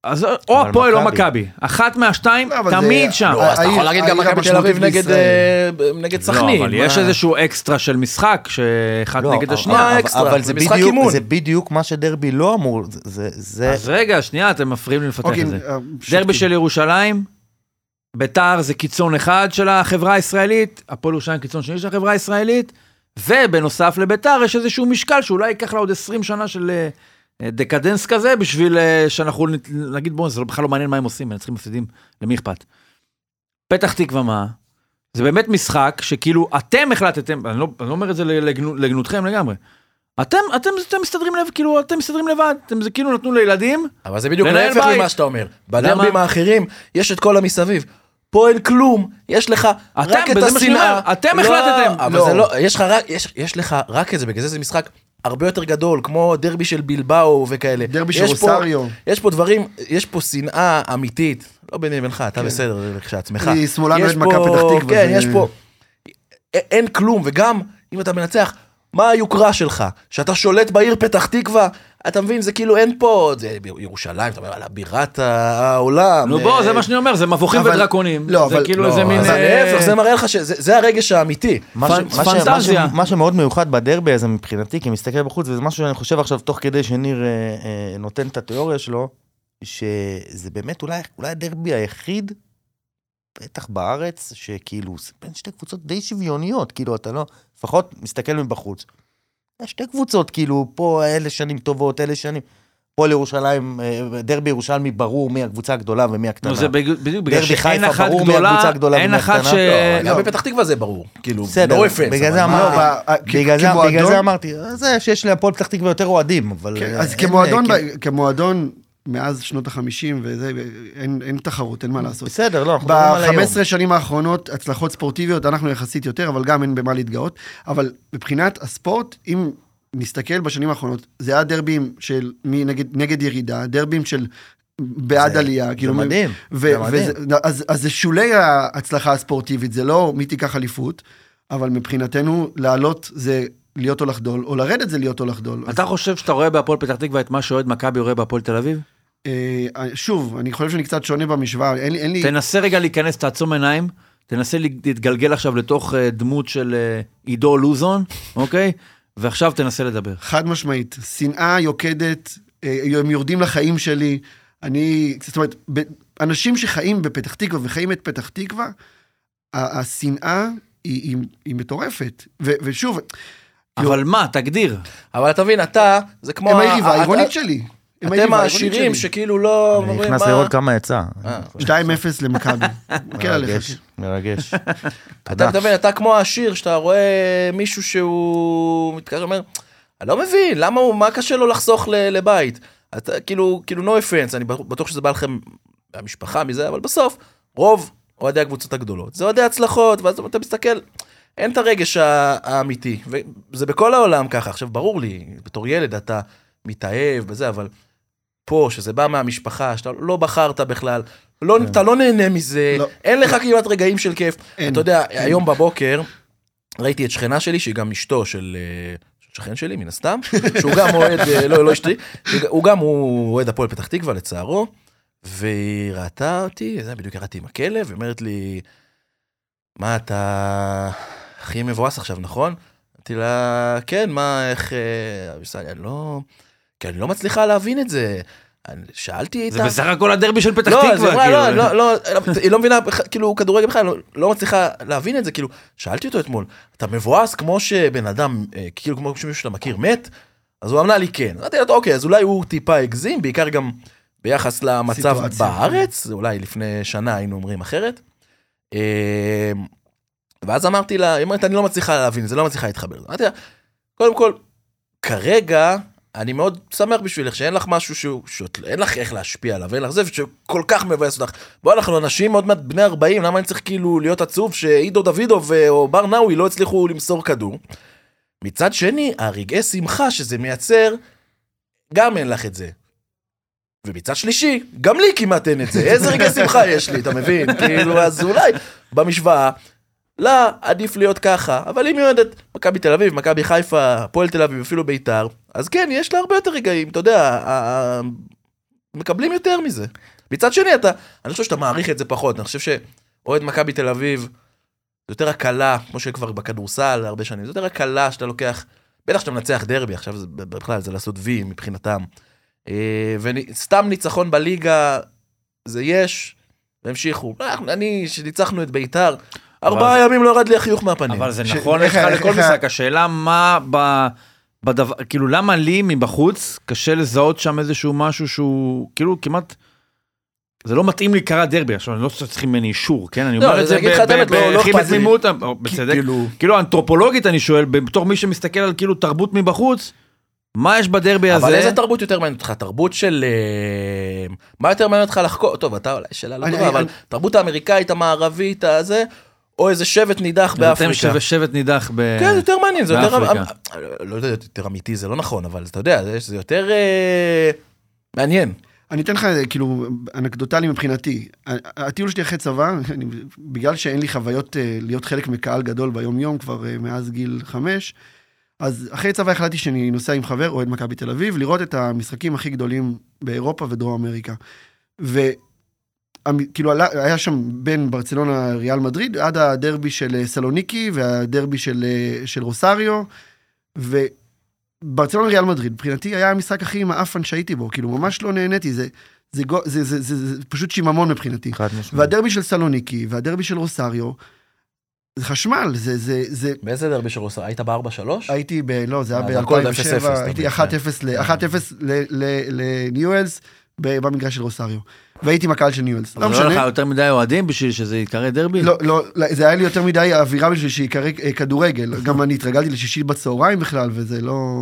B: אז או
E: אבל
B: הפועל או
E: מכבי.
B: מכבי, אחת מהשתיים,
C: לא, אבל זה-
B: תמיד שם.
D: לא, אז אתה יכול
C: העיר-
D: להגיד גם
C: העיר
D: מכבי תל אביב
C: המשמעותית
D: נגד, אה, נגד סכנין.
B: לא, אבל
D: מה-
B: יש איזשהו אקסטרה של משחק, שאחד
E: לא,
B: נגד
E: אבל-
B: השנייה.
E: אבל-
D: אקסטרה,
E: אבל
D: זה
E: זה
D: משחק
E: בדיוק-
D: אימון.
E: זה בדיוק מה שדרבי לא אמור, זה- זה... זה-
B: אז רגע, שנייה, אתם מפריעים לי לפתח
C: אוקיי,
B: את זה.
C: אה,
B: דרבי
C: שותקים.
B: של ירושלים, ביתר זה קיצון אחד של החברה הישראלית, הפועל ירושלים קיצון שני של החברה הישראלית, ובנוסף לביתר יש איזשהו משקל שאולי ייקח לה עוד 20 שנה של אה, אה, דקדנס כזה בשביל אה, שאנחנו נ- נגיד בואו זה לא- בכלל לא מעניין מה הם עושים מנצחים מפסידים למי אכפת. פתח תקווה מה? זה באמת משחק שכאילו אתם החלטתם אני לא, אני לא אומר את זה לגנו, לגנותכם לגמרי. אתם אתם אתם מסתדרים לב כאילו אתם מסתדרים לבד אתם זה כאילו נתנו לילדים
D: אבל זה בדיוק
B: לנהל
D: להפך
B: בית.
D: ממה שאתה אומר.
B: למה?
D: בדרבים האחרים יש את כל המסביב. פה אין כלום, יש לך
B: אתם,
D: רק את
B: וזה מה שאני
D: השנאה.
B: אומר, אתם
D: לא,
B: החלטתם.
D: אבל
B: לא.
D: זה לא, יש לך רק, יש- יש לך רק את זה, בגלל זה זה משחק הרבה יותר גדול, כמו דרבי של בלבאו וכאלה.
C: דרבי
D: יש
C: של
D: פה-
C: רוסריו.
D: יש פה דברים, יש פה שנאה אמיתית, לא ביני לבינך, אתה בסדר כשלעצמך.
C: אני שמאלן
D: יש
C: אוהד מכבי
D: פה-
C: פתח תקווה,
D: כן,
C: זה-
D: יש פה... א- אין כלום, וגם אם אתה מנצח, מה היוקרה שלך? שאתה שולט בעיר פתח תקווה? אתה מבין, זה כאילו אין פה, זה ירושלים, אתה אומר, על בירת העולם. אה,
B: נו בוא זה מה שאני אומר זה מבוכים
C: אבל-
B: ודרקונים.
C: לא,
B: זה
C: אבל-
B: כאילו
C: לא,
B: איזה מין.
D: אז
B: אה,
D: להפך, זה מראה לך שזה זה הרגש האמיתי.
E: מה ש-
B: פנ-
E: מה ש- מה ש-
B: פנטזיה.
E: מה שמאוד מיוחד בדרבי הזה מבחינתי, כי מסתכל בחוץ, וזה משהו שאני חושב עכשיו, תוך כדי שניר אה, אה, נותן את התיאוריה שלו, שזה באמת אולי אולי הדרבי היחיד, בטח בארץ, שכאילו, זה בין שתי קבוצות די שוויוניות, כאילו, אתה לא, לפחות מסתכל מבחוץ. יש שתי קבוצות, כאילו, פה אלה שנים טובות, אלה שנים... הפועל ירושלים, אה, דרבי ירושלמי ברור מי הקבוצה הגדולה ומי הקטנה.
B: נו, זה בג- בדיוק בגלל
E: דרבי
B: שאין
E: חיפה,
B: אחת
E: ברור מי הקבוצה
B: גדולה,
E: הגדולה
B: אין
E: ומי
B: אחת
E: הקטנה.
B: ש...
D: אה, גם בפתח תקווה זה ברור, כאילו,
E: בסדר,
D: no offense,
E: בגלל
D: אבל
E: זה
D: מה-
E: אמרתי,
C: לא, ב-
E: בגלל
C: כ-
E: זה-
C: כמועדון?
E: בגלל זה אמרתי, אה, זה שיש להפועל פתח תקווה יותר אוהדים, אבל...
C: כן,
E: אה,
C: אז
E: אין,
C: כמועדון,
E: אה,
B: כן.
C: ב- כמועדון, מאז שנות החמישים וזה, אין אין תחרות, אין מה
E: כן,
C: לעשות.
E: בסדר, לא, אנחנו מדברים על היום.
C: ב-15 שנים האחרונות, הצלחות ספורטיביות, אנחנו יחסית יותר, אבל גם אין במה להתגאות. אבל מבחינת הספורט, אם נסתכל בשנים האחרונות, זה היה דרבים של מי נגד, נגד ירידה, דרבים של בעד
E: זה-
C: עלייה. כאילו,
E: זה מדהים,
C: ו-
E: זה מדהים.
C: וזה- אז, אז זה שולי ההצלחה הספורטיבית, זה לא מי תיקח אליפות, אבל מבחינתנו, לעלות זה להיות או לחדול, או לרדת זה להיות או לחדול.
B: אתה חושב שאתה רואה בהפועל פתח תקווה את מה שאוהד מכבי רואה בהפועל תל אביב?
C: אה, שוב, אני חושב שאני קצת שונה במשוואה, אין לי... אין לי...
B: תנסה רגע להיכנס, תעצום עיניים, תנסה להתגלגל עכשיו לתוך אה, דמות של אה, עידו לוזון, אוקיי? ועכשיו תנסה לדבר.
C: חד משמעית, שנאה יוקדת, אה, הם יורדים לחיים שלי. אני, זאת אומרת, ב, אנשים שחיים בפתח תקווה וחיים את פתח תקווה, ה- השנאה היא, היא, היא מטורפת. ו, ושוב,
B: אבל מה, תגדיר.
D: אבל אתה מבין, אתה, זה כמו...
C: הם
D: ה-
C: היריבה
D: ה-
C: העירונית
D: ה-
C: שלי. הם
D: אתם
C: היריבה העירונית
D: העשירים
C: שלי.
D: שכאילו לא...
E: אני
D: אומרים,
E: נכנס
D: מה- אה,
E: לראות כמה יצא.
C: 2-0 למכבי. כן עליך.
E: מרגש, מרגש.
D: אתה
E: תודה.
D: מדבר, אתה כמו העשיר, שאתה רואה מישהו שהוא מתקשר, אומר, אני לא מבין, למה הוא, מה קשה לו לחסוך ל- לבית? אתה כאילו, כאילו, no offense, אני בטוח שזה בא לכם מהמשפחה, מזה, אבל בסוף, רוב אוהדי הקבוצות הגדולות, זה אוהדי הצלחות, ואז אתה מסתכל, אין את הרגש ה- האמיתי, וזה בכל העולם ככה. עכשיו, ברור לי, בתור ילד אתה מתאהב בזה, אבל פה, שזה בא מהמשפחה, שאתה לא בחרת בכלל, לא, אתה לא נהנה מזה,
C: כן. לא.
D: אין לך כמעט רגעים של כיף.
C: אין.
D: אתה יודע, היום בבוקר ראיתי את שכנה שלי, שהיא גם אשתו של... אה, של שכן שלי מן הסתם, שהוא גם אוהד, אה, לא, לא אשתי, שהוא- הוא גם הוא אוהד הפועל פתח תקווה לצערו, והיא ראתה אותי, זה בדיוק ירדתי עם הכלב, היא אומרת לי, מה אתה הכי מבואס עכשיו, נכון? אמרתי לה, כן, מה, איך... אה, היא עושה לי, אני לא... כי אני לא מצליחה להבין את זה. אני- שאלתי
B: זה
D: איתה...
B: בסך הכל הדרבי של פתח
D: לא, אז
B: תקווה,
D: היא אמרה, לא,
B: כאילו.
D: לא, לא, היא לא מבינה, בכלל, כאילו, כדורגל בכלל, לא- לא מצליחה להבין את זה, כאילו, שאלתי אותו אתמול, אתה מבואס כמו שבן אדם, אה, כאילו, כמו שמישהו שאתה מכיר מת? אז הוא ענה לי כן. אמרתי לו, אוקיי, אז אולי הוא טיפה הגזים, בעיקר גם ביחס למצב
C: סיטואציה.
D: בארץ, אולי לפני שנה היינו אומרים אחרת. אה, ואז אמרתי לה, היא אומרת, אני לא מצליחה להבין, זה לא מצליחה להתחבר. אמרתי לה, קודם כל, כרגע, אני מאוד שמח בשבילך שאין לך משהו שהוא, שאת- אין לך איך להשפיע עליו, אין לך זה, שכל כך מבאס אותך. בוא, אנחנו אנשים עוד מעט בני 40, למה אני צריך כאילו להיות עצוב שעידו דוידוב אה, או בר נאווי לא הצליחו למסור כדור? מצד שני, הרגעי שמחה שזה מייצר, גם אין לך את זה. ומצד שלישי, גם לי כמעט אין את זה, איזה רגעי שמחה יש לי, אתה מבין? כאילו, אז אולי במשוואה, לה עדיף להיות ככה, אבל אם היא אוהדת מכבי תל אביב, מכבי חיפה, הפועל תל אביב, אפילו ביתר, אז כן, יש לה הרבה יותר רגעים, אתה יודע, ה- ה- מקבלים יותר מזה. מצד שני, אתה, אני חושב שאתה מעריך את זה פחות, אני חושב שאוהד מכבי תל אביב, זה יותר הקלה, כמו שכבר בכדורסל הרבה שנים, זה יותר הקלה שאתה לוקח, בטח שאתה מנצח דרבי, עכשיו זה בכלל, זה לעשות וי מבחינתם. אה, וסתם ניצחון בליגה, זה יש, והמשיכו. אה, אני, שניצחנו את ביתר, ארבעה ימים לא ירד לי החיוך מהפנים.
B: אבל זה
C: ש-
B: נכון
C: איך
B: לך
C: ה- איך
B: לכל
C: ה-
B: משחק, השאלה מה ב- בדבר, כאילו למה לי מבחוץ קשה לזהות שם איזשהו משהו שהוא כאילו כמעט, זה לא מתאים לי קרה דרבי, עכשיו אני לא צריך ממני אישור, כן? אני
D: לא,
B: אומר
D: אני
B: את זה
D: אגיד לך את האמת, לא- לא
B: הכי
D: אכפת לי.
B: בתמימות, או אה, בצדק,
C: כאילו-
B: כאילו אנתרופולוגית אני שואל, בתור מי שמסתכל על כאילו תרבות מבחוץ, מה יש בדרבי הזה?
D: אבל איזה תרבות יותר מעניינת אותך? תרבות של... אה, מה יותר מעניין אותך לחקור? טוב, אתה אולי שאלה לא
C: אני-
D: טובה,
C: אני-
D: אבל
C: אני-
D: תרבות האמריקאית, המערבית, הזה, או איזה שבט נידח
B: אתם
D: באפריקה.
B: שבט- שבט נידח ב...
D: כן, זה יותר מעניין, זה יותר...
B: באפריקה.
D: אמ- אמ- לא יודע, יותר אמיתי זה לא נכון, אבל אתה יודע, זה- זה יותר אה, מעניין.
C: אני אתן לך, אה, כאילו, אנקדוטלי מבחינתי. ה- הטיול שלי אחרי צבא, אני, בגלל שאין לי חוויות אה, להיות חלק מקהל גדול ביום-יום, כבר אה, מאז גיל חמש, אז אחרי צבא החלטתי שאני נוסע עם חבר, אוהד מכבי תל אביב, לראות את המשחקים הכי גדולים באירופה ודרום אמריקה. וכאילו, היה שם בין ברצלונה ריאל מדריד עד הדרבי של אה, סלוניקי והדרבי של, אה, של רוסריו, ו... ברצלונה ריאל מדריד, מבחינתי היה המשחק הכי עם האפן שהייתי בו, כאילו ממש לא נהניתי, זה, זה, גו- זה, זה, זה, זה, זה פשוט שיממון מבחינתי.
E: חד משמעית.
C: והדרבי של סלוניקי והדרבי של רוסריו, זה חשמל, זה, זה, זה,
D: באיזה דרבי של רוסר? היית בארבע שלוש?
C: הייתי ב... לא, זה היה
D: אז הכל זה 0-0,
C: ב-2007,
D: אתה
C: הייתי
D: מבין,
C: 1-0 ל- 1-0 ל- ל- לניואלס ב- במגרש של רוסריו. והייתי עם הקהל של ניואלס. לא
B: אבל לא לך
C: משנה.
B: יותר מדי אוהדים בשביל שזה ייקרא דרבי?
C: לא, לא, לא, זה היה לי יותר מדי אווירה בשביל שיקרא אה, כדורגל. גם אני התרגלתי לשישי בצהריים בכלל, וזה לא...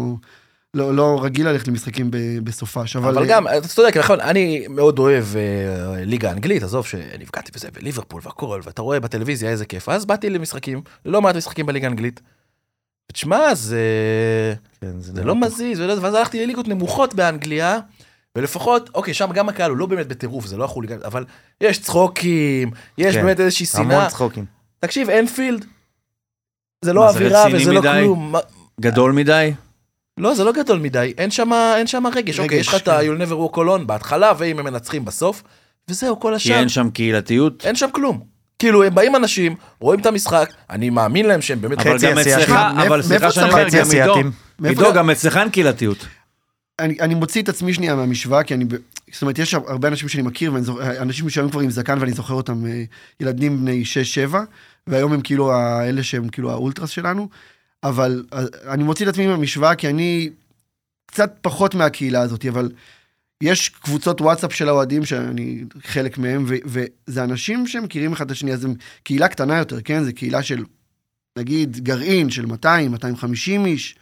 C: לא, לא רגיל ללכת למשחקים ב- בסופ"ש, אבל...
D: אבל
C: אה,
D: גם, אתה צודק, נכון, אני מאוד אוהב אה, ליגה אנגלית, עזוב שנפגעתי בזה, וליברפול והכל, ואתה רואה בטלוויזיה איזה כיף. אז באתי למשחקים, לא מעט משחקים בליגה האנגלית. תשמע, זה...
E: כן, זה
D: זה
E: לא
D: לא מזיז, ולא- ואז הלכתי לליגות נמוכות באנגליה, ולפחות, אוקיי, שם גם הקהל הוא לא באמת בטירוף, זה לא החוליגן, אבל יש צחוקים, יש
E: כן,
D: באמת איזושהי שנאה.
E: המון צחוקים.
D: תקשיב, אנפילד, זה
B: מה,
D: לא
B: זה
D: אווירה
B: רציני
D: וזה לא
B: מדי?
D: כלום. מה-
B: גדול מדי?
D: לא, זה לא גדול מדי, אין שם אין שם רגש. אוקיי, יש לך את
C: כן.
D: ה-You'll never walk alone בהתחלה, ואם הם מנצחים בסוף, וזהו, כל
B: כי
D: השאר,
B: אין שם קהילתיות?
D: אין שם כלום. כאילו, הם באים אנשים, רואים את המשחק, אני מאמין להם שהם באמת
B: אבל
E: חצי
B: גם
E: אסייתי.
B: אצלך,
C: מאיפה-
B: אבל
C: מאיפה
B: סליחה שאני אומר,
E: חצי
B: גם עידו,
E: אסייתים?
C: מאיפה
B: עידו,
C: אתה-
B: גם אצלך אין קהילתיות.
C: אה, אני, אני מוציא את עצמי שנייה מהמשוואה, כי אני... ב- זאת אומרת, יש הרבה אנשים שאני מכיר, ואני זוכ... אה, אנשים שהיום כבר עם זקן ואני זוכר אותם, אה, ילדים בני 6-7, והיום הם כאילו האלה שהם כאילו האולטרס שלנו, אבל אה, אני מוציא את עצמי מהמשוואה, כי אני קצת פחות מהקהילה הזאת, אבל יש קבוצות וואטסאפ של האוהדים שאני חלק מהם, ו- וזה אנשים שמכירים אחד את השני, אז הם קהילה קטנה יותר, כן? זה קהילה של, נגיד, גרעין של 200, 250 איש.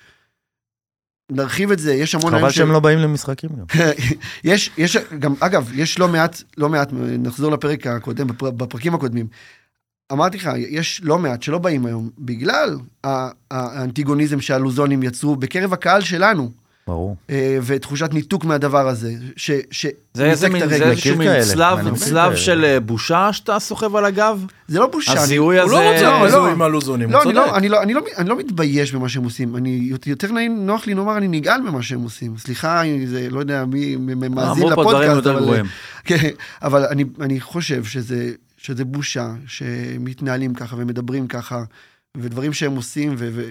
C: נרחיב את זה, יש המון
E: חבל
C: של-
E: שהם לא באים למשחקים גם.
C: יש, יש גם, אגב, יש לא מעט, לא מעט, נחזור לפרק הקודם, בפר, בפרקים הקודמים. אמרתי לך, יש לא מעט שלא באים היום, בגלל ה- האנטיגוניזם שהלוזונים יצרו בקרב הקהל שלנו,
E: ברור.
C: אה, ותחושת ניתוק מהדבר הזה, ש... ש
B: זה איזה
C: ניתק
B: מין-
C: את
B: זה
C: הרגל. כן.
B: איזשהו
E: מכיר
B: מין
E: כאלה, אני
B: צלב,
E: מכיר
B: צלב
E: כאלה.
B: של אה, בושה שאתה סוחב על הגב?
C: זה לא בושה. אני-
B: הזיהוי
D: הוא
B: הזה...
D: לא רוצה
C: לא,
D: לזוהים
C: לא.
D: הלוזונים, הוא
C: לא, אני
D: צודק.
C: לא, אני, לא, אני, לא, אני לא מתבייש במה שהם עושים, אני יותר נעים, נוח לי לומר, אני נגעל במה שהם עושים. סליחה, אני- זה, לא יודע מי מ- מ- מאזין
B: אמרו פה דברים
C: לפודקאסט,
B: יותר
C: אבל,
B: גרועים.
C: כן, אבל אני, אני חושב שזה, שזה בושה שמתנהלים ככה ומדברים ככה, ודברים שהם עושים, ו... ו...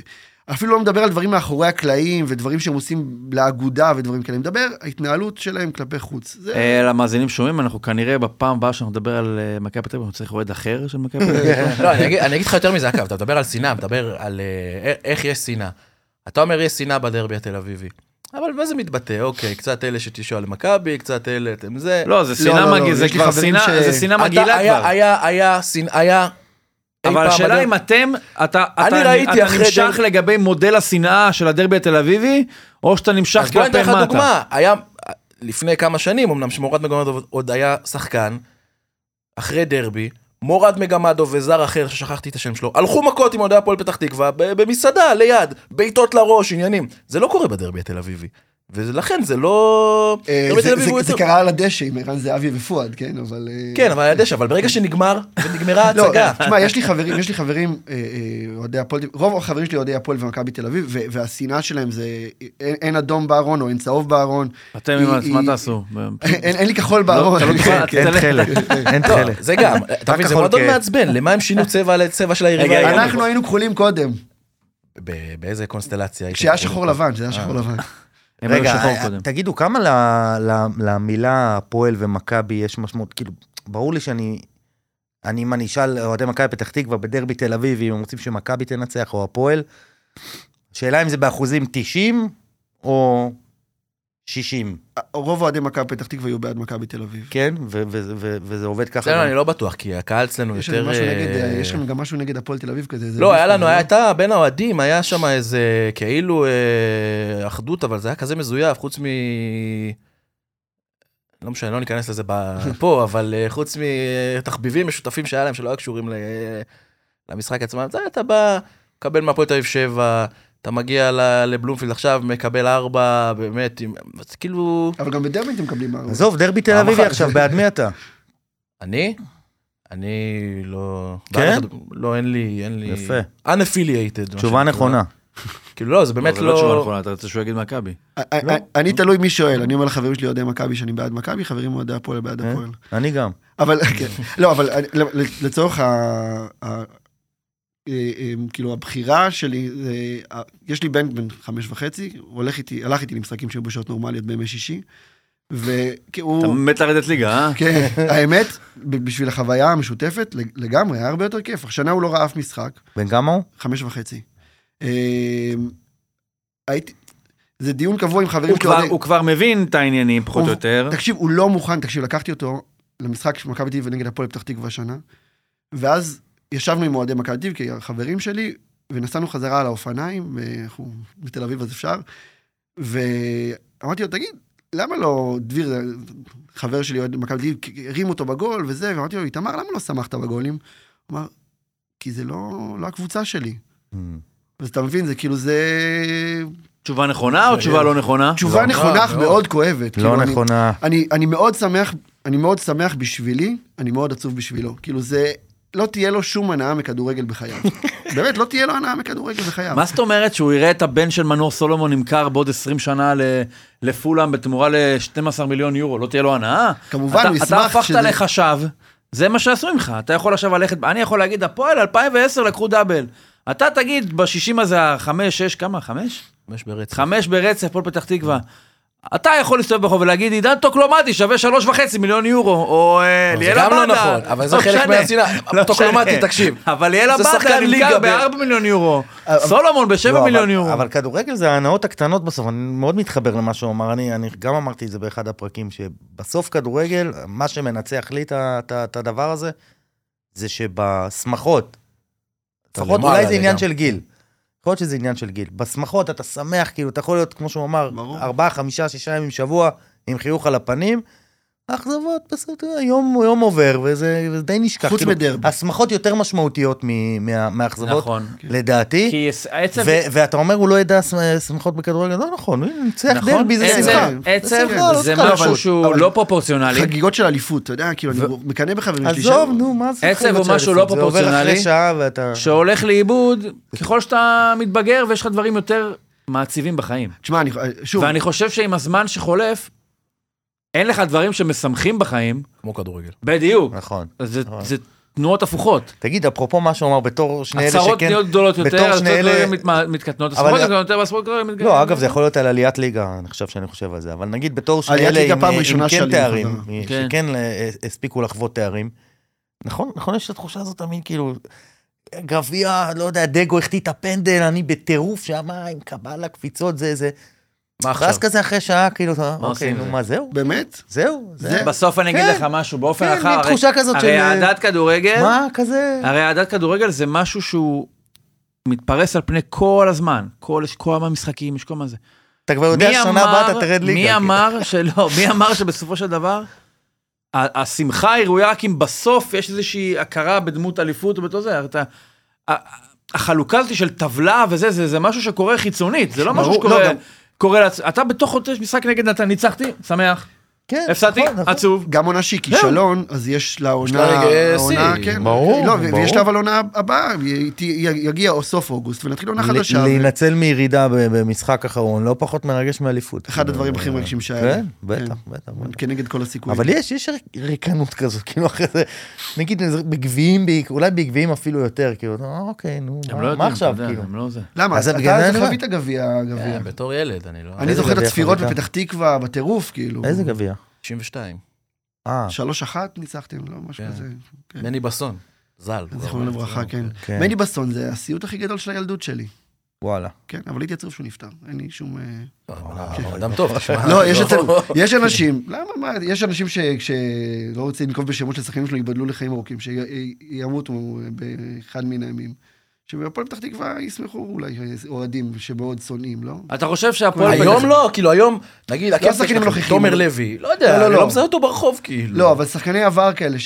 C: אפילו לא מדבר על דברים מאחורי הקלעים, ודברים שהם עושים לאגודה ודברים כאלה, מדבר ההתנהלות שלהם כלפי חוץ. זה...
B: אה, למאזינים שומעים, אנחנו כנראה בפעם הבאה שאנחנו נדבר על אה, מכבי תל אביב, אנחנו צריך אוהד אחר של מכבי תל אביב.
D: לא, אני אגיד- אני אגיד לך יותר מזה, אגב, אתה מדבר על שנאה, אתה מדבר על אה, א- איך יש שנאה. אתה אומר, יש שנאה בדרבי התל אביבי. אבל מה זה מתבטא? אוקיי, קצת אלה שתשאל למכבי, קצת אלה, אתם זה.
B: לא, זה
C: לא,
B: שנאה
C: לא, לא,
B: מגעילה, זה
C: יש לי
B: כבר
C: חברים
B: שנאה,
C: ש-
B: זה שנאה
D: אתה-
B: מגעילה
D: היה-
B: כבר.
D: היה, היה, שנאה, היה... אי
B: אבל
D: פעם
B: השאלה
D: בדרבי-
B: אם אתם, אתה אתה-
D: אני ראיתי
B: אתה
D: אחרי
B: נמשך
D: דרבי-
B: לגבי מודל השנאה של הדרבי התל אביבי, או שאתה נמשך
D: אז בוא אני
B: כלפי
D: אתן לך
B: מטה.
D: דוגמה, היה לפני כמה שנים, אמנם שמורת מגמדוב עוד היה שחקן, אחרי דרבי, מורד מגמדוב וזר אחר ששכחתי את השם שלו, הלכו מכות עם אוהדי הפועל פתח תקווה ב- במסעדה ליד, בעיטות לראש, עניינים. זה לא קורה בדרבי התל אביבי. ולכן זה לא...
C: אה,
D: דרבי
C: זה,
D: תל אביב
C: זה,
D: הוא
C: זה
D: יותר-
C: קרה על הדשא עם ערן זהבי ופואד, כן, אבל... אה,
D: כן, אבל אני יודע אבל ברגע שנגמר, ונגמרה
C: לא,
D: ההצגה.
C: תשמע, יש לי חברים, יש לי חברים אה, אה, אוהדי הפועל, רוב החברים שלי אוהדי הפועל ומכבי תל אביב, ו- והשנאה שלהם זה אין אין אדום בארון או אין צהוב בארון.
B: אתם,
C: היא-
B: עם- מה
C: היא-
B: תעשו?
C: אין אין לי כחול בארון.
B: אתה לא תוכל- אתה
E: אין
B: תלך-
E: תכלת, אין
D: כן, לא,
E: תכלת.
D: זה גם, אתה מבין, זה
E: כחול
D: מועדון
E: כהה.
D: מעצבן, למה הם שינו צבע לצבע של היריבה?
B: רגע,
D: העירונית?
C: אנחנו היינו כחולים קודם,
D: ב- באיזה קונסטלציה? הייתם?
C: כשהיה שחור לבן, כשהיה שחור לבן.
B: הם היו
E: רגע,
B: שחור
E: אה,
B: קודם.
E: תגידו, כמה ל- ל- למילה הפועל ומכבי יש משמעות? כאילו, ברור לי שאני... אני, אם אני אשאל אוהדי מכבי פתח תקווה בדרבי תל אביב, אם הם רוצים שמכבי תנצח או הפועל, שאלה אם זה באחוזים 90 או 60,
C: רוב אוהדי מכבי פתח תקווה היו בעד מכבי תל אביב.
E: כן? ו- ו- ו- ו- וזה עובד ככה.
D: אצלנו
E: גם-
D: אני לא בטוח, כי הקהל אצלנו
C: יש לנו
D: יותר...
C: משהו נגד,
D: אה,
C: יש לנו גם משהו נגד הפועל תל אביב כזה. איזה
D: לא, היה
C: משהו
D: לנו,
C: כזה.
D: הייתה בין האוהדים, היה שם איזה כאילו אה, אחדות, אבל זה היה כזה מזויף, חוץ מ... לא משנה, לא ניכנס לזה ב- פה, אבל אה, חוץ מתחביבים משותפים שהיה להם שלא היו קשורים ל... למשחק עצמם, זה אתה בא, מקבל מהפועל תל אביב 7, אתה מגיע ל- לבלומפילד עכשיו, מקבל 4, באמת, עם... זה כאילו...
C: אבל גם בדרבי אתם מקבלים...
E: עזוב, דרבי תל
D: פעם
E: אביבי
D: אחת.
E: עכשיו, בעד מי אתה?
D: אני? אני לא...
E: כן?
D: בעד הכדור- לא, אין לי, אין לי...
E: יפה.
D: unaffiliated. מה
E: תשובה
D: שנקרא.
E: נכונה.
D: כאילו לא, זה באמת
B: זה לא תשובה
D: לא...
B: נכונה, אתה רוצה שהוא יגיד מכבי.
C: אה, אה, אני תלוי מי שואל, אני אומר לחברים שלי אוהדי מכבי שאני בעד מכבי, חברים אוהדי הפועל בעד
E: אה?
C: הפועל.
E: אני גם.
C: אבל, כן. לא, אבל אני- לצורך ה... ה- אה, אה, כאילו הבחירה שלי, זה- אה, יש לי בן בן חמש וחצי, הוא הולך איתי, הלך איתי למשחקים שהיו בשעות נורמליות בימי שישי,
B: אתה
C: והוא...
B: מת לרדת ליגה, אה?
C: כן, האמת, ב- בשביל החוויה המשותפת, לג- לגמרי, היה הרבה יותר כיף. השנה הוא לא ראה אף משחק,
E: בן כמה
B: לא
E: הוא?
C: חמש וחצי. אה, הייתי... זה דיון קבוע עם חברים
B: הוא כבר-
C: כאוהדי-
B: הוא כבר מבין את העניינים, פחות או
C: הוא-
B: יותר.
C: תקשיב, הוא לא מוכן, תקשיב, לקחתי אותו למשחק של מכבי תל אביב נגד הפועל פתח תקווה השנה, ואז ישבנו עם אוהדי מכבי תל אביב, כי החברים שלי, ונסענו חזרה על האופניים, ואנחנו בתל אביב אז אפשר, ואמרתי לו, תגיד, למה לא דביר, חבר שלי, אוהד מכבי תל אביב, הרים אותו בגול וזה, ואמרתי לו, איתמר, למה לא שמחת בגולים? הוא אמר, כי זה לא, לא הקבוצה שלי. אז אתה מבין, זה כאילו, Mm. זה
B: תשובה נכונה או תשובה לא נכונה?
C: תשובה
D: לא,
C: נכונה אך
D: לא.
C: מאוד כואבת. כאילו,
E: לא
C: אני-
E: נכונה.
C: אני, אני מאוד שמח, אני מאוד שמח בשבילי, אני מאוד עצוב בשבילו. כאילו זה, לא תהיה לו שום הנאה מכדורגל בחייו. באמת, לא תהיה לו הנאה מכדורגל בחייו.
B: מה זאת אומרת שהוא יראה את הבן של מנור סולומון נמכר בעוד 20 שנה ל- לפולאם בתמורה ל-12 מיליון יורו? לא תהיה לו הנאה?
C: כמובן,
B: אתה-
C: הוא ישמח
B: אתה הפכת
C: שזה-
B: לחשב, זה מה שעשו ממך. אתה יכול עכשיו ללכת, אני יכול להגיד, הפועל 2010 לקחו דאבל. אתה תגיד, בשישים הזה, החמש, שש, כמה? חמש?
D: ממש ברצף.
B: חמש ברצף, הפועל פתח תקווה. אתה יכול להסתובב ברחוב ולהגיד, עידן טוקלומטי שווה שלוש וחצי מיליון יורו, או אה,
D: אבל זה
B: ליאל
D: גם לא
B: עבדה.
D: נכון, אבל זה חלק
B: משנה.
D: מהצנעה.
B: לא משנה.
D: טוקלומטי, תקשיב,
B: אבל ליאל
D: זה
B: עבדה
D: שחקן ליגה
B: נמכר
D: ב-
B: בארבע מיליון יורו, סולומון
E: לא,
B: בשבע
E: אבל-
B: מיליון יורו.
E: אבל כדורגל זה ההנאות הקטנות בסוף, אני מאוד מתחבר למה שהוא אמר, אני, אני גם אמרתי את זה באחד הפרקים, שבסוף כדורגל, מה שמנצח לי את ה- את ה- את הדבר הזה, זה שבשמחות,
D: אתה
E: לפחות
D: למעלה
E: אולי זה עניין
D: לגמרי.
E: של גיל, יכול להיות שזה עניין של גיל, בשמחות אתה שמח, כאילו, אתה יכול להיות, כמו שהוא אמר,
C: ברור.
E: ארבעה, חמישה, שישה ימים בשבוע, עם חיוך על הפנים, אכזבות, בסדר, יום, יום עובר, וזה, וזה די נשכח.
C: חוץ
E: כאילו,
C: מדרבי.
E: השמחות יותר משמעותיות מ- מה- מהאכזבות,
B: נכון.
E: לדעתי.
B: כי עצב...
E: ו- ואתה אומר הוא לא ידע ש- שמחות בכדורגל, לא נכון, הוא ניצח
B: נכון?
E: דרבי זה
B: עצב-
E: שמחה.
B: עצב
E: שמחה, לא
B: זה
E: שמחה.
B: משהו
E: אבל-
B: שהוא
C: אבל-
B: לא פרופורציונלי.
C: חגיגות של אליפות, אתה יודע, כאילו, אני מקנא בחברים שלי.
E: עזוב,
C: ש-
E: נו, מה זה?
B: עצב הוא
E: חגיגות של
B: משהו לא
E: אליפות? זה עובר
B: פרופורציונלי.
E: אחרי שעה ואתה...
B: שהולך לאיבוד ככל שאתה מתבגר ויש לך דברים יותר מעציבים בחיים.
C: תשמע, אני, אה, שוב,
B: ואני חושב שעם הזמן שחולף, אין לך דברים שמשמחים בחיים,
D: כמו כדורגל.
B: בדיוק.
E: נכון.
B: זה,
E: נכון.
B: זה תנועות הפוכות.
E: תגיד, אפרופו מה שהוא אמר, בתור שני אלה שכן...
B: הצהרות נהיות גדולות
E: בתור
B: יותר,
E: שני
B: הצהרות
E: אלה-
B: גדולות מת- מתקטנות,
E: אבל
B: הספורט
E: אני-
B: גדולות יותר, והספורט גדולות מתגדלות.
E: לא, אגב, זה יכול להיות על עליית ליגה, אני חושב שאני חושב על זה, אבל נגיד בתור שני
C: עליית
E: אלה
C: ליגה
E: עם
C: פעם
E: עם
C: ראשונה
E: כן
C: שלי,
E: תארים,
C: חזרה.
E: מ-
B: כן.
E: שכן אה, הספיקו לחוות תארים. נכון, נכון, יש את התחושה הזאת תמיד, כאילו, גביע, לא יודע, דגו החטיא את הפנדל, אני בטירוף שם, אה, עם קבלה, קפיצות, זה, זה.
D: מה
E: ואז
D: עכשיו?
E: כזה אחרי שעה, כאילו, אתה, אוקיי,
B: עושים
E: נו,
B: עם
E: מה, זהו?
C: באמת,
E: זהו? זה?
B: בסוף אני אגיד
E: כן.
B: לך משהו, באופן
E: כן,
B: אחר,
E: מין
B: הרי-
E: תחושה כזאת
B: הרי
E: של-
B: אהדת כדורגל,
E: מה, כזה?
B: הרי אהדת כדורגל זה משהו שהוא מתפרס על פני כל הזמן, כל יש כל המשחקים, יש כל מה זה.
E: אתה כבר יודע,
B: מי
E: שנה
B: אמר-
E: הבאה אתה תרד ליגה.
B: מי
E: כאילו.
B: אמר שלא, מי אמר שבסופו של דבר, ה- השמחה היא ראויה רק אם בסוף יש איזושהי הכרה בדמות אליפות ובתו זה, הרי אתה... ה- החלוקה הזאת של טבלה וזה, זה, זה משהו שקורה חיצונית, זה לא משהו
C: ברור,
B: שקורה...
C: לא, גם-
B: קורה לעצ... אתה בתוך חודש יש משחק נגד נתן, ניצחתי, שמח,
E: כן,
B: הפסדתי,
E: נכון, נכון.
B: עצוב.
C: גם עונה שהיא כישלון, אז יש לה עונה,
D: לה רגע
C: העונה,
D: שיא.
C: כן,
E: ברור,
C: לא, ו-
E: ברור.
C: ויש לה אבל עונה הבאה, י- ת- י- יגיע או סוף אוגוסט, ונתחיל עונה
B: לא
E: ל-
C: חדשה.
E: להינצל מירידה ב- במשחק אחרון, לא פחות מרגש מאליפות.
C: אחד
E: כאילו,
C: הדברים הכי מרגשים שהיה לי.
E: כן, בטח, בטח.
C: ו-
E: בטח.
C: כנגד כל הסיכויים.
E: אבל יש, יש ריק- ריקנות כזאת, כאילו אחרי זה, נגיד בגביעים, בעיק- אולי בגביעים אפילו יותר, כאילו, אה, אוקיי, נו,
B: הם לא
E: מה- מה
B: יודעים, אתה
E: עכשיו,
B: יודע,
E: כאילו?
B: הם לא זה.
C: למה?
E: אז
C: אתה
E: בגלל זה
C: אז
E: אני אומר. כן.
C: חווית גביע, גביע.
D: אה, בתור ילד, אני לא...
C: אני
E: איזה
C: זוכר את
E: גביע
C: הצפירות
E: חווית?
C: בפתח תקווה בטירוף, כאילו.
E: איזה גביע?
D: 92.
E: אה,
C: שלוש אחת ניצחתם, לא משהו
D: כן.
C: כזה.
D: מני בסון. ז"ל.
C: זיכרונו לברכה, כן.
E: כן.
C: מני בסון זה הסיוט הכי גדול של הילדות שלי.
E: וואלה.
C: כן, אבל הייתי עצוב שהוא נפטר, אין לי שום... אה,
D: אה, אדם טוב, תשמע.
C: לא, יש אצלנו, יש אנשים, למה, מה, יש אנשים ש- שלא רוצים לנקוב בשמות של שחקנים שלו, ייבדלו לחיים ארוכים, שימותו אה, באחד מן הימים. שבהפועל פתח תקווה ישמחו אולי אה, אוהדים שמאוד שונאים, לא?
B: אתה חושב שהפועל...
D: היום לא, כאילו היום, נגיד, הקפטן
C: שחקנים
D: שלכם,
C: נוכחים.
D: תומר לוי, לא
C: לא,
D: יודע,
C: לא,
D: אני
C: לא.
D: לא מזהה אותו ברחוב, כאילו.
C: לא, אבל שחקני עבר כאלה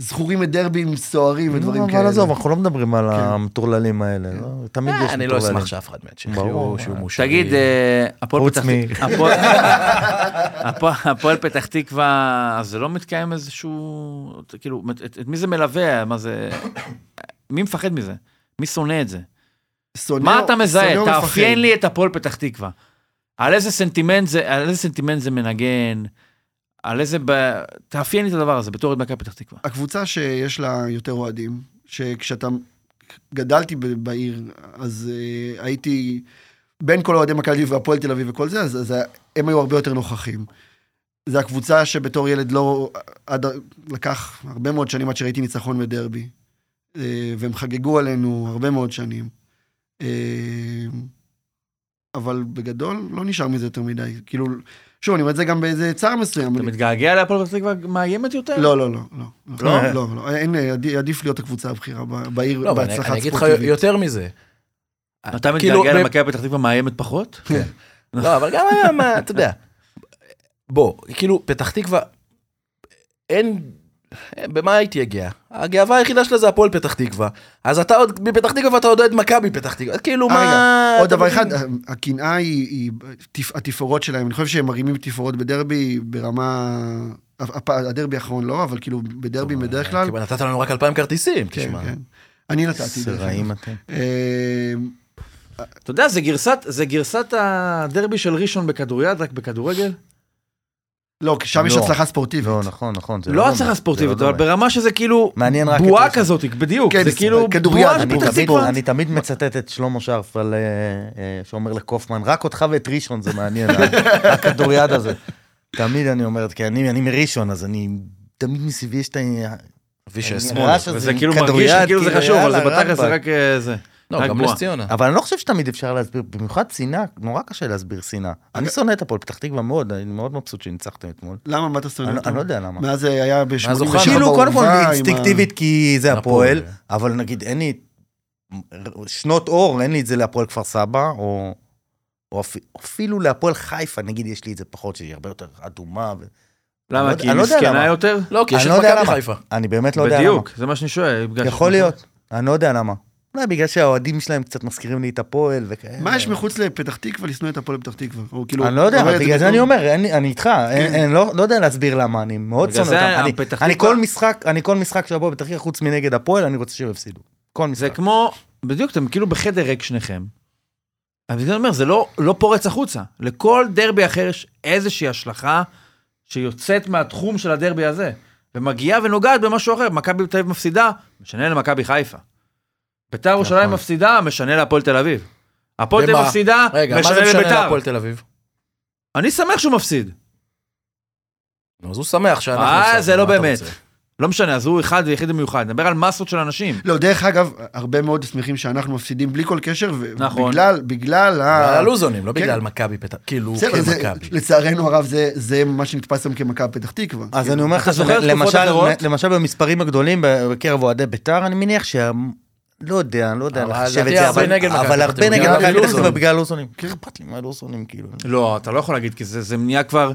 C: שזכורים את דרבים סוערים ודברים
E: אבל
C: כאלה.
E: עזוב, אנחנו לא מדברים על
C: כן.
E: המטורללים האלה, לא? תמיד יש
D: אה, אני
E: מטורללים.
D: לא אשמח שאף אחד מהם שיחיו,
E: ברור.
D: שהוא מאושר.
B: תגיד, אה, הפועל
E: חוץ
B: פתח
E: מ-
B: תקווה... הפועל- הפועל- הפועל פתח תקווה, אז זה לא מתקיים איזשהו... כאילו, את את מי זה מלווה? מה זה... מי מפחד מזה? מי שונא את זה?
C: שונא-
B: מה אתה
C: שונא
B: מזהה?
C: ומפחד.
B: תאפיין לי את הפועל פתח תקווה. על איזה סנטימנט זה, על איזה סנטימנט זה מנגן, על איזה... ב... תאפיין לי את הדבר הזה בתור את מכבי פתח תקווה.
C: הקבוצה שיש לה יותר אוהדים, שכשאתה... גדלתי ב- בעיר, אז uh, הייתי בין כל אוהדי מכבי והפועל תל אביב וכל זה, אז, אז ה- הם היו הרבה יותר נוכחים. זו הקבוצה שבתור ילד לא... עד, ה- לקח הרבה מאוד שנים עד שראיתי ניצחון בדרבי. Uh, והם חגגו עלינו הרבה מאוד שנים. Uh, אבל בגדול לא נשאר מזה יותר מדי. כאילו, שוב, אני אומר את זה גם באיזה צער מסוים.
B: אתה מתגעגע להפועל פתח תקווה מאיימת יותר?
C: לא, לא, לא, לא. לא, לא, לא. אין, עדי- עדיף להיות הקבוצה הבכירה ב-
D: לא,
C: בעיר,
D: אבל אני
C: בהצלחה
D: אני אגיד לך
C: ספורטיבית.
D: יותר מזה.
B: אתה
D: כאילו,
B: מתגעגע
D: ב-
B: למכבי פתח תקווה מאיימת פחות?
D: לא, אבל גם, היה מה, אתה יודע. בוא, כאילו, פתח תקווה, אין... במה הייתי הגאה? הגאווה היחידה שלה זה הפועל פתח תקווה. אז אתה עוד מפתח תקווה ואתה עוד אוהד מכבי פתח תקווה. אז כאילו,
C: אה,
D: מה...
C: עוד
D: אתה
C: דבר
D: מבין?
C: אחד, אה, הקנאה היא, היא תפ- התפאורות שלהם, אני חושב שהם מרימים תפאורות בדרבי ברמה, הפ- הדרבי האחרון לא, אבל כאילו בדרבים בדרך כלל,
D: כאילו, נתת לנו רק 2,000 כרטיסים,
C: כן,
D: תשמע.
C: כן. אני נתתי. דרך אגב.
E: סרעים אתם.
C: אה,
B: אתה יודע, זה גרסת, זה גרסת הדרבי של ראשון בכדוריד, רק בכדורגל.
C: לא, כי שם יש
E: לא.
C: הצלחה ספורטיבית.
E: לא, נכון, נכון. זה
B: לא
E: דומה,
B: הצלחה
E: זה לא
B: ספורטיבית, אבל
E: דומה.
B: ברמה שזה כאילו
E: מעניין רק את
B: בועה
E: ראשון.
B: כזאת, בדיוק.
C: כן,
B: זה
C: זה
B: כאילו
C: כדוריד,
B: בועה של
E: אני
B: פתח
E: תמיד-
B: תקווה.
E: אני תמיד מצטט את שלמה שרף על, אה, אה, שאומר לקופמן, רק אותך ואת ראשון זה מעניין, אה, הכדוריד הזה. תמיד אני אומר, כי אני אני מראשון, אז אני, תמיד מסביבי יש את ה...
D: אבישי
E: אני-
D: שמאל.
E: הרעש הזה
B: וזה
E: עם
B: כאילו מרגיש
E: כדוריד,
B: כאילו זה
E: כאילו,
B: חשוב, אבל זה
E: יאללה,
B: בתכל'ס זה
E: רמב"ם.
B: רק אה, זה.
D: לא,
B: רק
D: גם
B: בועה.
D: נס ציונה.
E: אבל אני לא חושב שתמיד אפשר להסביר, במיוחד שנאה, נורא קשה להסביר שנאה. אני שונא את הפועל פתח תקווה מאוד, אני מאוד מבסוט שניצחתם אתמול.
C: למה, מה אתה שונא
E: אני לא-
C: אותו?
E: אני לא יודע למה.
C: מאז זה היה ב-87
D: אוחנה.
C: באורווה.
E: כאילו, קודם כל
C: עם ה-
E: אינסטינקטיבית כי זה
D: הפועל.
E: הפועל, אבל נגיד אין לי שנות אור, אין לי את זה להפועל כפר סבא, או או אפי- אפילו להפועל חיפה, נגיד יש לי את זה פחות, שהיא הרבה יותר אדומה. ו-
B: למה?
E: אני
B: כי
E: לא-
B: היא
E: אני לא יודע
B: מסכנה
E: למה.
B: יותר?
D: לא, כי יש
E: אני
D: את
E: לא יודע
D: מכבי
E: למה.
D: חיפה.
E: אני באמת לא יודע למה.
B: בדיוק, זה מה שאני שואל. בגלל
E: יכול
B: שזה-
E: להיות, אני לא יודע למה. אולי בגלל שהאוהדים שלהם קצת מזכירים לי את הפועל וכאלה.
C: מה יש מחוץ לפתח תקווה לשנוא את הפועל פתח תקווה? או כאילו-
E: אני לא יודע,
C: אומר
E: אבל
C: את זה
E: בגלל זה
C: בתור-
E: אני אומר, אין לי- אני איתך, אין- אין- לא לא יודע להסביר למה, אני מאוד
B: בגלל
E: שונא
B: זה
E: אותם. אני-
B: הפתח
E: אני
B: תקווה-
E: כל משחק, אני כל משחק שבוע בתחקיר חוץ מנגד הפועל, אני רוצה שהם יפסידו. כל
B: זה
E: משחק.
B: כמו, בדיוק, אתם כאילו בחדר ריק שניכם. אבל זה אומר, זה לא, לא פורץ החוצה. לכל דרבי אחר יש איזושהי השלכה שיוצאת מהתחום של הדרבי הזה, ומגיעה ונוגעת במשהו אחר. מכבי תל אביב מפסידה, משנה למכבי חיפה. ביתר
D: נכון.
B: ירושלים מפסידה, משנה להפועל תל אביב. הפועל תל אביב
D: במה?
B: מפסידה,
D: רגע, מה זה
B: משנה
D: משנה
B: לביתר.
D: להפועל תל אביב?
B: אני שמח שהוא מפסיד.
D: נו, אז הוא שמח שאנחנו...
B: אה,
D: הפסדנו,
B: זה לא
D: מה אתה
B: באמת.
D: רוצה?
B: לא משנה, אז הוא אחד ויחיד במיוחד. נדבר על מסות של אנשים.
C: לא, דרך אגב, הרבה מאוד שמחים שאנחנו מפסידים בלי כל קשר, ו-
B: נכון.
C: בגלל, בגלל
D: בגלל
C: ה...
D: הלוזונים, לא
C: כן.
D: בגלל מכבי פתח... כאילו,
C: בסדר, זה-
D: כמכבי.
C: לצערנו הרב, זה- זה מה שנתפס היום כמכבי פתח תקווה.
E: אז
C: כאילו,
E: אני אומר לך,
B: אתה זוכר
E: שלמשל-
B: תקופות אחרות?
E: למשל למשל במספרים הגדולים בקרב אוהדי ביתר, אני מניח שה... לא יודע, אני לא יודע
D: אבל
E: לחשב את
D: לדעתי
E: זה,
D: הרבה
E: אבל-
D: נגד מכבי
E: אבל
D: פתח
E: הרבה
D: תקווה,
E: נגד
D: בגלל
E: מכבי פתח
D: הלוזון.
E: תקווה בגלל לוסונים. כן, אכפת לי מהלוסונים, כאילו.
B: לא, אתה לא יכול להגיד, כי זה, זה נהיה כבר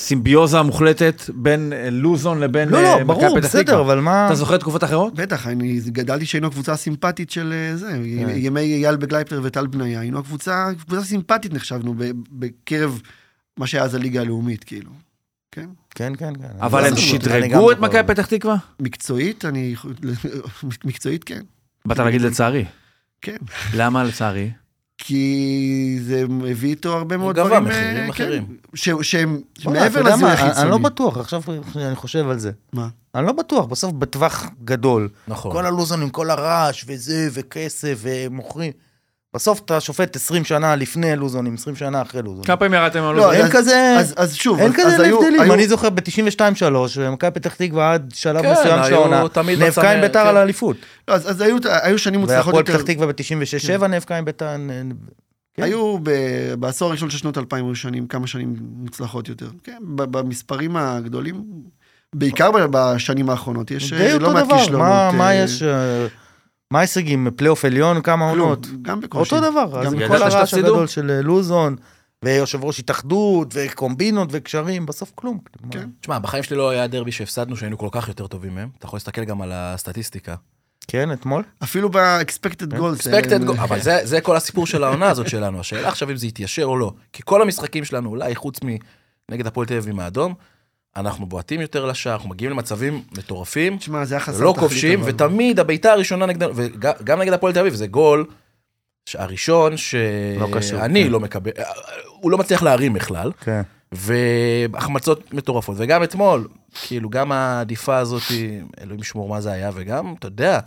B: סימביוזה מוחלטת בין אה, לוזון לבין
E: לא,
B: אה,
E: לא,
B: מכבי
E: ברור,
B: פתח
E: בסדר,
B: תקווה.
E: אבל מה...
B: אתה זוכר תקופות אחרות?
C: בטח, אני גדלתי שהיינו הקבוצה הסימפטית של אה, זה,
E: כן.
C: ימי אייל בגלייפר וטל בניה, היינו הקבוצה, קבוצה סימפטית נחשבנו ב- בקרב מה שהיה אז הליגה הלאומית, כאילו. כן?
E: כן, כן, כן.
B: אבל
E: אני
B: הם
E: לא זוכר, אני גם
B: שדרגו את
E: זוכר.
B: מכבי פתח תקווה?
C: מקצועית, אני... מקצועית, כן.
B: באת להגיד לצערי.
C: כן.
B: למה לצערי?
C: כי זה הביא איתו הרבה מאוד
D: גבה
C: דברים...
D: מחירים
C: אה, כן,
D: אחרים.
C: ש- שהם
E: בוא'נה, אתה
C: מעבר
E: יודע
C: לזיהוי
E: מה, אני- אני לא
C: החיצוני.
E: בטוח, עכשיו אני חושב על זה.
C: מה?
E: אני לא בטוח, בסוף בטווח גדול.
D: נכון.
E: כל הלוזונים, כל הרעש וזה, וכסף, ומוכרים. בסוף אתה שופט 20 שנה לפני לוזונים, 20 שנה אחרי לוזונים.
B: כמה פעמים ירדתם על
C: לא,
B: לוזון?
E: אין
C: אז-
E: כזה...
C: אז, אז שוב,
E: אין
C: אז, אז
E: כזה
C: היו-
E: הבדלים,
C: היו-
E: אני זוכר ב-92-3, מכבי פתח תקווה עד שלב
D: כן,
E: מסוים של
D: היו
E: העונה,
D: תמיד
E: נאבקה עם
D: בצמרת,
E: ביתר
D: כן.
E: על האליפות.
C: לא, אז, אז היו, היו שנים מוצלחות
E: והפועל
C: יותר.
E: פתח תקווה ב-96-7 נאבקה עם ביתר... נ- כן.
C: היו ב, בעשור הראשון של שנות 2000 היו שנים, כמה שנים מוצלחות יותר. כן, ב- במספרים הגדולים, בעיקר ב- בשנים האחרונות, יש
E: די
C: אה,
E: אותו
C: לא מעט
E: דבר,
C: כישלונות.
E: מה-
C: אה,
E: מה יש... אה, מה ההישגים? פלייאוף עליון? כמה
C: כלום,
E: עונות?
C: גם בקושי.
E: אותו דבר, אז
C: גם
E: עם
B: ידעת
E: כל הרעש
B: שתפסידו?
E: הגדול של אה, לוזון, ויושב ראש התאחדות, וקומבינות, וקשרים, בסוף כלום.
C: כן.
D: תשמע, בחיים שלי לא היה דרבי שהפסדנו, שהיינו כל כך יותר טובים מהם. אתה יכול להסתכל גם על הסטטיסטיקה.
E: כן, אתמול?
C: אפילו ב-expected goals.
D: אקספקטד
C: אה,
D: גול, אבל זה- זה כל הסיפור של העונה הזאת שלנו. השאלה עכשיו אם זה יתיישר או לא. כי כל המשחקים שלנו, אולי חוץ מנגד הפועל תל אביב עם האדום, אנחנו בועטים יותר לשער, אנחנו מגיעים למצבים מטורפים,
C: תשמע, זה היה חסר
D: לא
C: תכלית,
D: כובשים,
C: אבל.
D: ותמיד הבעיטה הראשונה נגדנו, וגם נגד הפועל תל אביב, זה גול ש- הראשון
E: לא קשור,
D: שאני
E: כן.
D: לא מקבל, הוא לא מצליח להרים בכלל.
E: כן.
D: והחמצות מטורפות, וגם אתמול, כאילו, גם העדיפה הזאת, אלוהים ישמור מה זה היה, וגם, אתה יודע,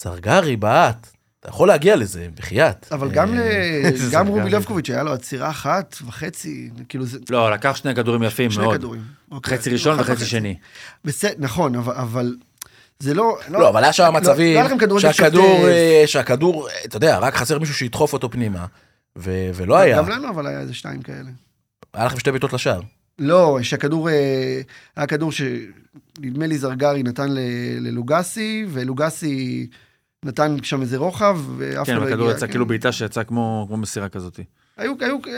D: סרגרי בעט, אתה יכול להגיע לזה, בחייאת. אה,
C: אבל גם, ל-
B: אה, זה
C: גם
B: גם כן.
C: רובי
B: זה.
C: לבקוביץ', היה לו עצירה אחת וחצי, כאילו זה
B: לא, לקח שני כדורים יפים
C: שני
B: מאוד.
C: כדורים. אוקיי,
B: חצי ראשון
C: אחת
B: וחצי שני.
C: בסדר, נכון, אבל, אבל זה לא...
D: לא, אבל היה שם
C: לא-
D: מצבים,
C: לא היה לכם כדורגל
D: שהכדור,
C: שופט,
D: אה, שהכדור, אה, אתה יודע, רק חסר מישהו שידחוף אותו פנימה, ו-
B: לא
D: ולא היה.
C: גם לנו אבל היה איזה שתיים כאלה.
D: היה לכם שתי בעיטות לשער.
C: לא, שהכדור, אה, היה כדור שנדמה לי זרגרי נתן ל- ללוגסי, ולוגסי נתן שם איזה רוחב, ואף אחד
B: כן,
C: לא הגיע.
B: והכדור יצא
C: כן.
B: כאילו בעיטה שיצאה כמו כמו מסירה כזאת.
C: היו, היו... אה,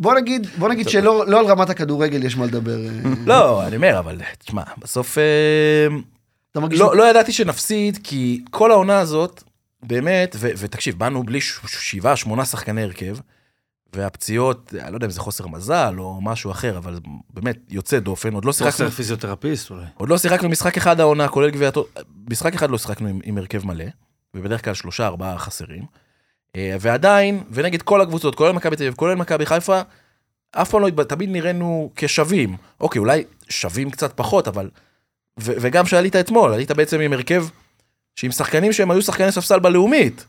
C: בוא נגיד, בוא נגיד שלא לא על רמת הכדורגל יש מה לדבר. אה.
D: לא, אני אומר, אבל תשמע, בסוף... אה,
C: אתה מרגיש...
D: לא, לא ידעתי שנפסיד, כי כל העונה הזאת, באמת, ו- ותקשיב, באנו בלי ש- ש- שבעה, שמונה שחקני הרכב, והפציעות, אני לא יודע אם זה חוסר מזל או משהו אחר, אבל באמת, יוצא דופן, עוד לא שיחקנו,
B: חוסר פיזיותרפיסט אולי.
D: עוד לא שיחקנו משחק אחד העונה, כולל גביע... הטוט- משחק אחד לא שיחקנו עם, עם הרכב מלא, ובדרך כלל שלושה, ארבעה חסרים, אה, ועדיין, ונגד כל הקבוצות, כולל מכבי תל אביב, כולל מכבי חיפה, אף פעם לא, התב- תמיד נראינו כשווים. אוקיי, אולי שווים קצת פחות, אבל... ו- וגם שעלית אתמול, עלית בעצם עם הרכב שעם שחקנים שהם היו שחקני ספסל בלאומית.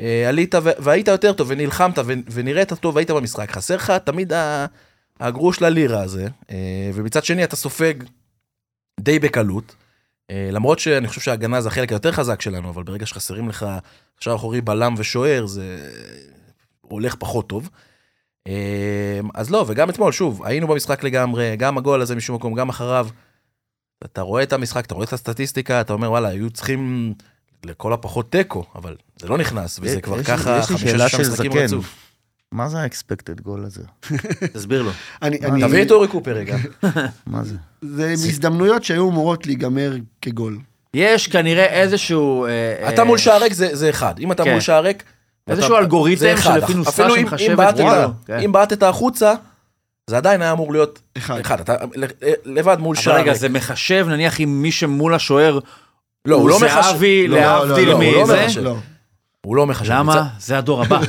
D: אה, עלית ו- והיית יותר טוב ונלחמת ו- ונראית טוב והיית במשחק. חסר לך תמיד ה- הגרוש ללירה הזה, אה, ומצד שני אתה סופג די בקלות. אה, למרות שאני חושב שההגנה זה החלק היותר חזק שלנו, אבל ברגע שחסרים לך קשר אחורי בלם ושוער, זה הולך פחות טוב. אה, אז לא, וגם אתמול, שוב, היינו במשחק לגמרי, גם הגול הזה משום מקום, גם אחריו. אתה רואה את המשחק, אתה רואה את הסטטיסטיקה, אתה אומר, וואלה, היו צריכים לכל הפחות תיקו, אבל זה לא נכנס, וזה
E: יש-
D: כבר
E: אה, יש-
D: ככה
E: יש לי
D: חמישה
E: שאלה
D: שישה
E: של
D: משחקים
E: זקן.
D: רצוף.
E: מה זה האקספקטד גול הזה?
B: תסביר לו.
C: אני, אני,
D: תביא את אורי קופר רגע.
E: מה זה?
C: זה מהזדמנויות שהיו אמורות להיגמר כגול.
B: יש כנראה איזשהו... אה,
D: אתה
B: אה,
D: מול שער ריק זה זה אחד, אם אתה
B: כן.
D: מול שער ריק...
B: איזשהו
D: ואתה-
B: אלגוריתם
D: זה אחד.
B: שלפי נוסחה
D: אפילו אם- אם
B: שמחשבת,
D: בעטת-
B: וואו, כן.
D: אם בעטת החוצה, זה עדיין היה אמור להיות
C: אחד.
D: אחד, אתה ל- אה, לבד מול
B: אבל
D: שער
B: רגע,
D: ריק.
B: זה מחשב נניח אם מי שמול השוער
D: לא, הוא לא מחשב.
B: זהבי,
D: לא,
B: להבדיל
D: לא, לא, הוא לא
B: מזה.
D: מחשב.
C: לא.
D: הוא לא מחשב.
B: למה? זה הדור הבא.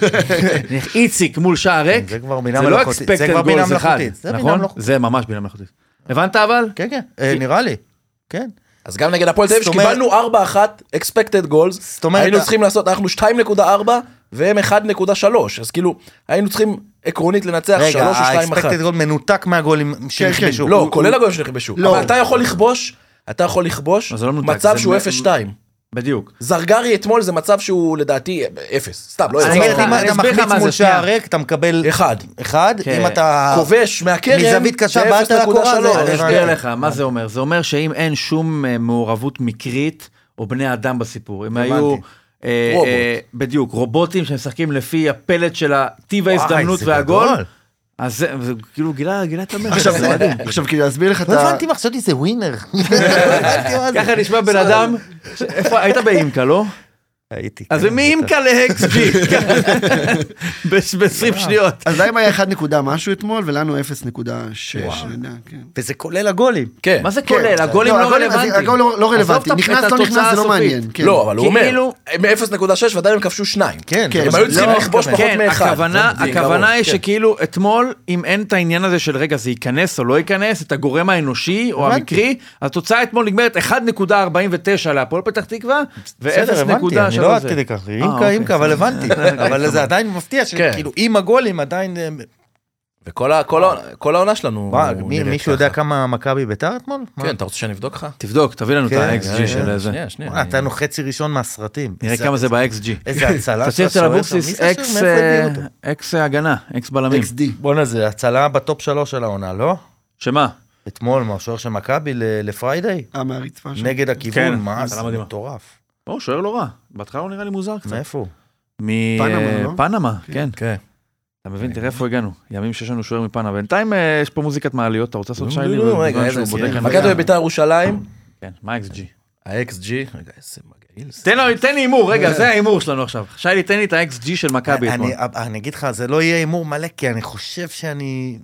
B: נניח איציק מול שער ריק,
E: זה כבר בינה
B: זה לא
E: מלאכותית.
B: אקספקטד
E: כבר בינה
B: גולס אחד,
E: מלאכותית. זה בינה
B: נכון?
E: מלאכותית.
B: זה ממש בינה מלאכותית. הבנת אבל?
E: כן, כן, אה, נראה לי. כן.
D: אז גם נגד הפועל תל אביב
E: זאת אומרת-
D: שקיבלנו 4-1 expected goals,
E: זאת אומרת-
D: היינו צריכים לעשות, אנחנו 2.4 והם 1.3, אז כאילו היינו צריכים עקרונית לנצח 3
E: רגע,
D: או 2-1.
E: האקספקטד גול מנותק מהגולים שנכבשו.
D: לא,
C: הוא-
D: כולל
C: הוא-
D: הגולים שנכבשו.
C: כן, לא.
D: אבל אתה יכול לכבוש, אתה יכול לכבוש
B: אז זה לא מנותק,
D: מצב
B: זה
D: שהוא
B: מ-
D: 0-2.
E: כן.
B: בדיוק.
D: זרגרי אתמול זה מצב שהוא לדעתי 0, סתם, לא
B: אני אגיד
E: זאת
B: לך-
E: אומרת, אם
B: אני
E: אתה
B: אסביר לך
E: מחמיץ
B: מה זה,
E: מול
B: שנייה.
E: שער ריק, אתה מקבל
D: 1.
E: אחד,
B: כן.
E: אם אתה...
D: כובש מהקרן,
E: מזווית קשה
D: זה
E: בעט על הקורה,
D: 0.3.
E: זה-
B: אני
E: הבנתי.
D: כן.
B: אסביר לך, מה זה אומר? זה אומר שאם אין שום אה, מעורבות מקרית או בני אדם בסיפור, הם היו... אה,
D: רובוט.
B: אה, בדיוק, רובוטים שמשחקים לפי הפלט של טיב ההזדמנות
E: זה
B: והגול,
E: גדול.
B: אז זה זה כאילו גילה גילה את המלך,
C: עכשיו,
B: זה מדהים.
C: עכשיו, כאילו, להסביר לך את
E: לא
C: ה...
E: הבנתי מה, חשבתי זה ווינר. לא הבנתי מה זה.
B: ככה נשמע בן אדם, ש- איפה, היית באימקה, לא?
E: הייתי.
B: אז
E: כן, בטח. כן.
B: מאימקה להקספי, ב-20 שניות.
C: אז להם היה 1 נקודה משהו אתמול, ולנו 0.6. אני יודע, כן.
E: וזה כולל הגולים.
D: כן.
B: מה זה כולל? הגולים
C: לא,
B: לא
C: הגולים-
B: רלוונטיים.
C: הגול לא- לא
B: עזוב
C: רלוונטי.
B: את-
C: נכנס,
B: את
C: לא נכנס,
B: התוצאה
C: זה לא
B: הסופית.
C: מעניין, כן.
D: לא, אבל הוא אומר,
B: כאילו-
D: הם 0.6 ועדיין הם כבשו 2.
E: כן,
C: כן,
E: זה
D: הם
E: מה
D: היו
E: ש-
D: צריכים
E: לא,
D: לכבוש
E: מתכוון.
D: פחות
B: כן,
D: מאחד.
B: הכוונה,
D: זה- זה
B: הכוונה
D: ברור,
B: היא
D: כן.
B: שכאילו אתמול, אם אין את העניין הזה של רגע זה ייכנס או לא ייכנס, את הגורם האנושי או
E: הבנתי.
B: המקרי, התוצאה אתמול נגמרת 1.49 להפועל פתח תקווה,
E: בסדר, הבנתי, אני
B: עכשיו
E: לא
B: על
E: עד
B: זה.
E: כדי כך, אימקה,
B: אוקיי,
E: אימקה, אבל הבנתי. אבל זה עדיין מפתיע,
D: כן.
E: שכאילו עם הגולים עדיין... אה,
D: וכל ה- כל העונה- כל העונה שלנו
E: וואו, מי-
D: נראית
E: מישהו
D: ככה.
E: יודע כמה מכבי ביתר אתמול? מה?
D: כן, אתה רוצה שאני אבדוק לך?
B: תבדוק, תביא לנו את
E: כן,
B: ה-XG
E: כן,
B: של זה.
D: שנייה, שנייה.
E: וואלה,
D: אני-
E: נתנו חצי ראשון מהסרטים.
B: נראה
E: איזה-
B: כמה זה ב-XG.
E: איזה הצלה.
B: תצהיר
E: של
B: אצל
E: השוער שם.
B: אבוקסיס,
E: מי זה
B: אקס,
E: השוער? מאיפה הביאו אותו?
B: אה, אקס הגנה, אקס בלמים.
C: XD.
E: בואנה, זה הצלה בטופ שלוש של העונה, לא?
B: שמה?
E: אתמול, מהשוער של מכבי ל- לפריידיי?
C: אה, מהרצפה שם.
E: נגד
B: כן,
E: הכיוון, מה
B: הצלה
E: זה
B: מדהימה.
E: מטורף.
B: הוא שוער לא רע. בהתחלה הוא נראה לי מוזר קצת.
E: מאיפה הוא?
C: פנמה, לא?
B: מפנמה, כן.
D: כן.
B: אתה מבין, תראה איפה הגענו. ימים שיש לנו שוער מפנמה. בינתיים אה, יש פה מוזיקת מעליות, אתה רוצה לעשות שיילי?
D: לא, לא,
B: בזמן
D: רגע, איזה
B: שהוא בודק
D: סיפור.
B: הנחה?
D: מכבי בית"ר ירושלים,
B: כן, מה XG?
D: ה-XG, רגע, איזה מגעיל. זה.
B: תן לו, תן לי הימור, רגע, זה ההימור שלנו עכשיו. שיילי, תן לי את ה-XG של מכבי אתמול.
E: אה, אני- אני אגיד לך, זה לא יהיה הימור מלא, כי אני חושב שאני...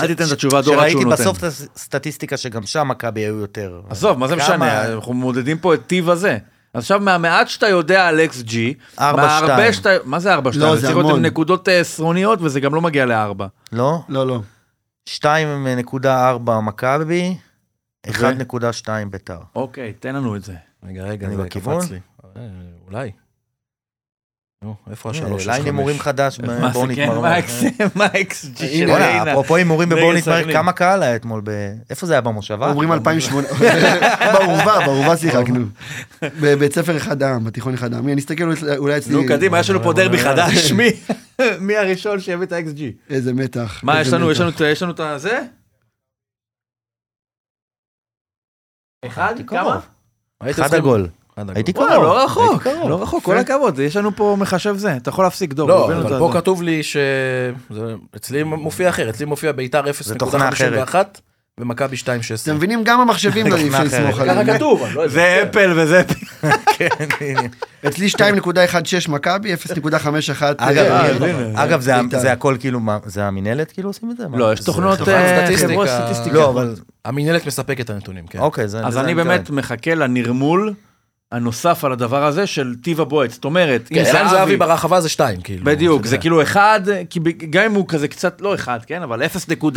B: אל תיתן את התשובה דור עד שהוא
E: שראיתי
B: נותן.
E: בסוף את הסטטיסטיקה שגם שם מכבי היו יותר.
B: עזוב, מה זה
E: כמה-
B: משנה? אנחנו מודדים פה את טיב הזה. אז עכשיו, מהמעט שאתה יודע על XG,
E: ארבע,
B: מההרבה
E: שתיים.
B: שאתה... מה זה 4
C: לא,
B: 2?
C: זה
B: צריך להיות עם
C: המון.
B: נקודות אה, עשרוניות, וזה גם לא מגיע לארבע.
E: לא?
C: לא, לא.
E: 2.4 מכבי, 1.2 ביתר.
B: אוקיי, תן לנו את זה.
D: רגע, רגע,
E: אני
D: זה
E: בכיוון?
D: קפץ לי. אה, אולי. נו, איפה השלוש של
E: אולי אה, הימורים חדש,
B: מה זה
E: בואו
B: כן?
E: נתמרמר.
B: מה ה- מה ה-XG של
E: וואלה,
B: ריינה?
E: אפרופו הימורים
B: נגד
E: בבואו נתמרמר,
B: סכנין.
E: כמה קהל היה אתמול? ב- איפה זה היה במושבה?
C: אומרים 2008, באורווה, באורווה שיחקנו. בבית ספר אחד העם, בתיכון אחד העם. אני אסתכל אולי- אולי אצלי,
B: נו, קדימה, יש לנו פה דרבי חדש. מי- מי הראשון שיביא את ה-XG?
C: איזה מתח.
B: מה,
C: איזה
B: יש לנו,
C: מתח.
B: יש לנו את ה- יש לנו את הזה? אחד? כמה?
E: אחד הגול. הייתי
D: הייתי
E: קרוב.
B: וואו, לא רחוק,
E: הייתי קרוב.
B: לא רחוק, כל
E: יפה.
B: הכבוד, יש לנו פה מחשב זה, אתה יכול להפסיק דור.
D: לא,
B: הבאנו את
D: אבל
B: זה.
D: פה כתוב לי ש... זה- אצלי מופיע אחר, אצלי מופיע ביתר
E: זה תוכנה אחרת.
D: 0.51 ומכבי 2.16.
C: אתם מבינים? גם המחשבים לא אי אפשר
E: תוכנה אחרת.
C: לסמוך
D: ככה
C: עליהם.
D: כתוב, אני לא יודע.
B: זה אפל וזה אפל.
E: כן, הנה.
C: אצלי 2.16 מכבי, 0.51.
E: אגב,
C: אה,
E: אה, אגב, זה ה-
C: בית"ר.
E: זה הכל כאילו, מה- זה המינהלת כאילו עושים את זה? מה?
B: לא, יש
E: זה
B: תוכנות,
E: חברה-
D: אה,
B: סטטיסטיקה.
D: חברות
B: סטטיסטיקה.
D: סטטיסטיקה.
E: לא, אבל,
D: המינהלת מספקת את הנתונים, כן.
E: אוקיי, זה...
B: אז
E: לזה
B: אני
E: מתכוון.
B: באמת מחכה לנרמול הנוסף על הדבר הזה של טיב הבועט. זאת אומרת,
D: כן,
B: אם
D: ערן זהבי
B: זהבי...
D: ברחבה זה 2, כאילו.
B: בדיוק,
D: אתה
B: זה
D: יודע.
B: כאילו אחד, כי ב- גם אם הוא כזה קצת, לא אחד, כן, אבל 0.7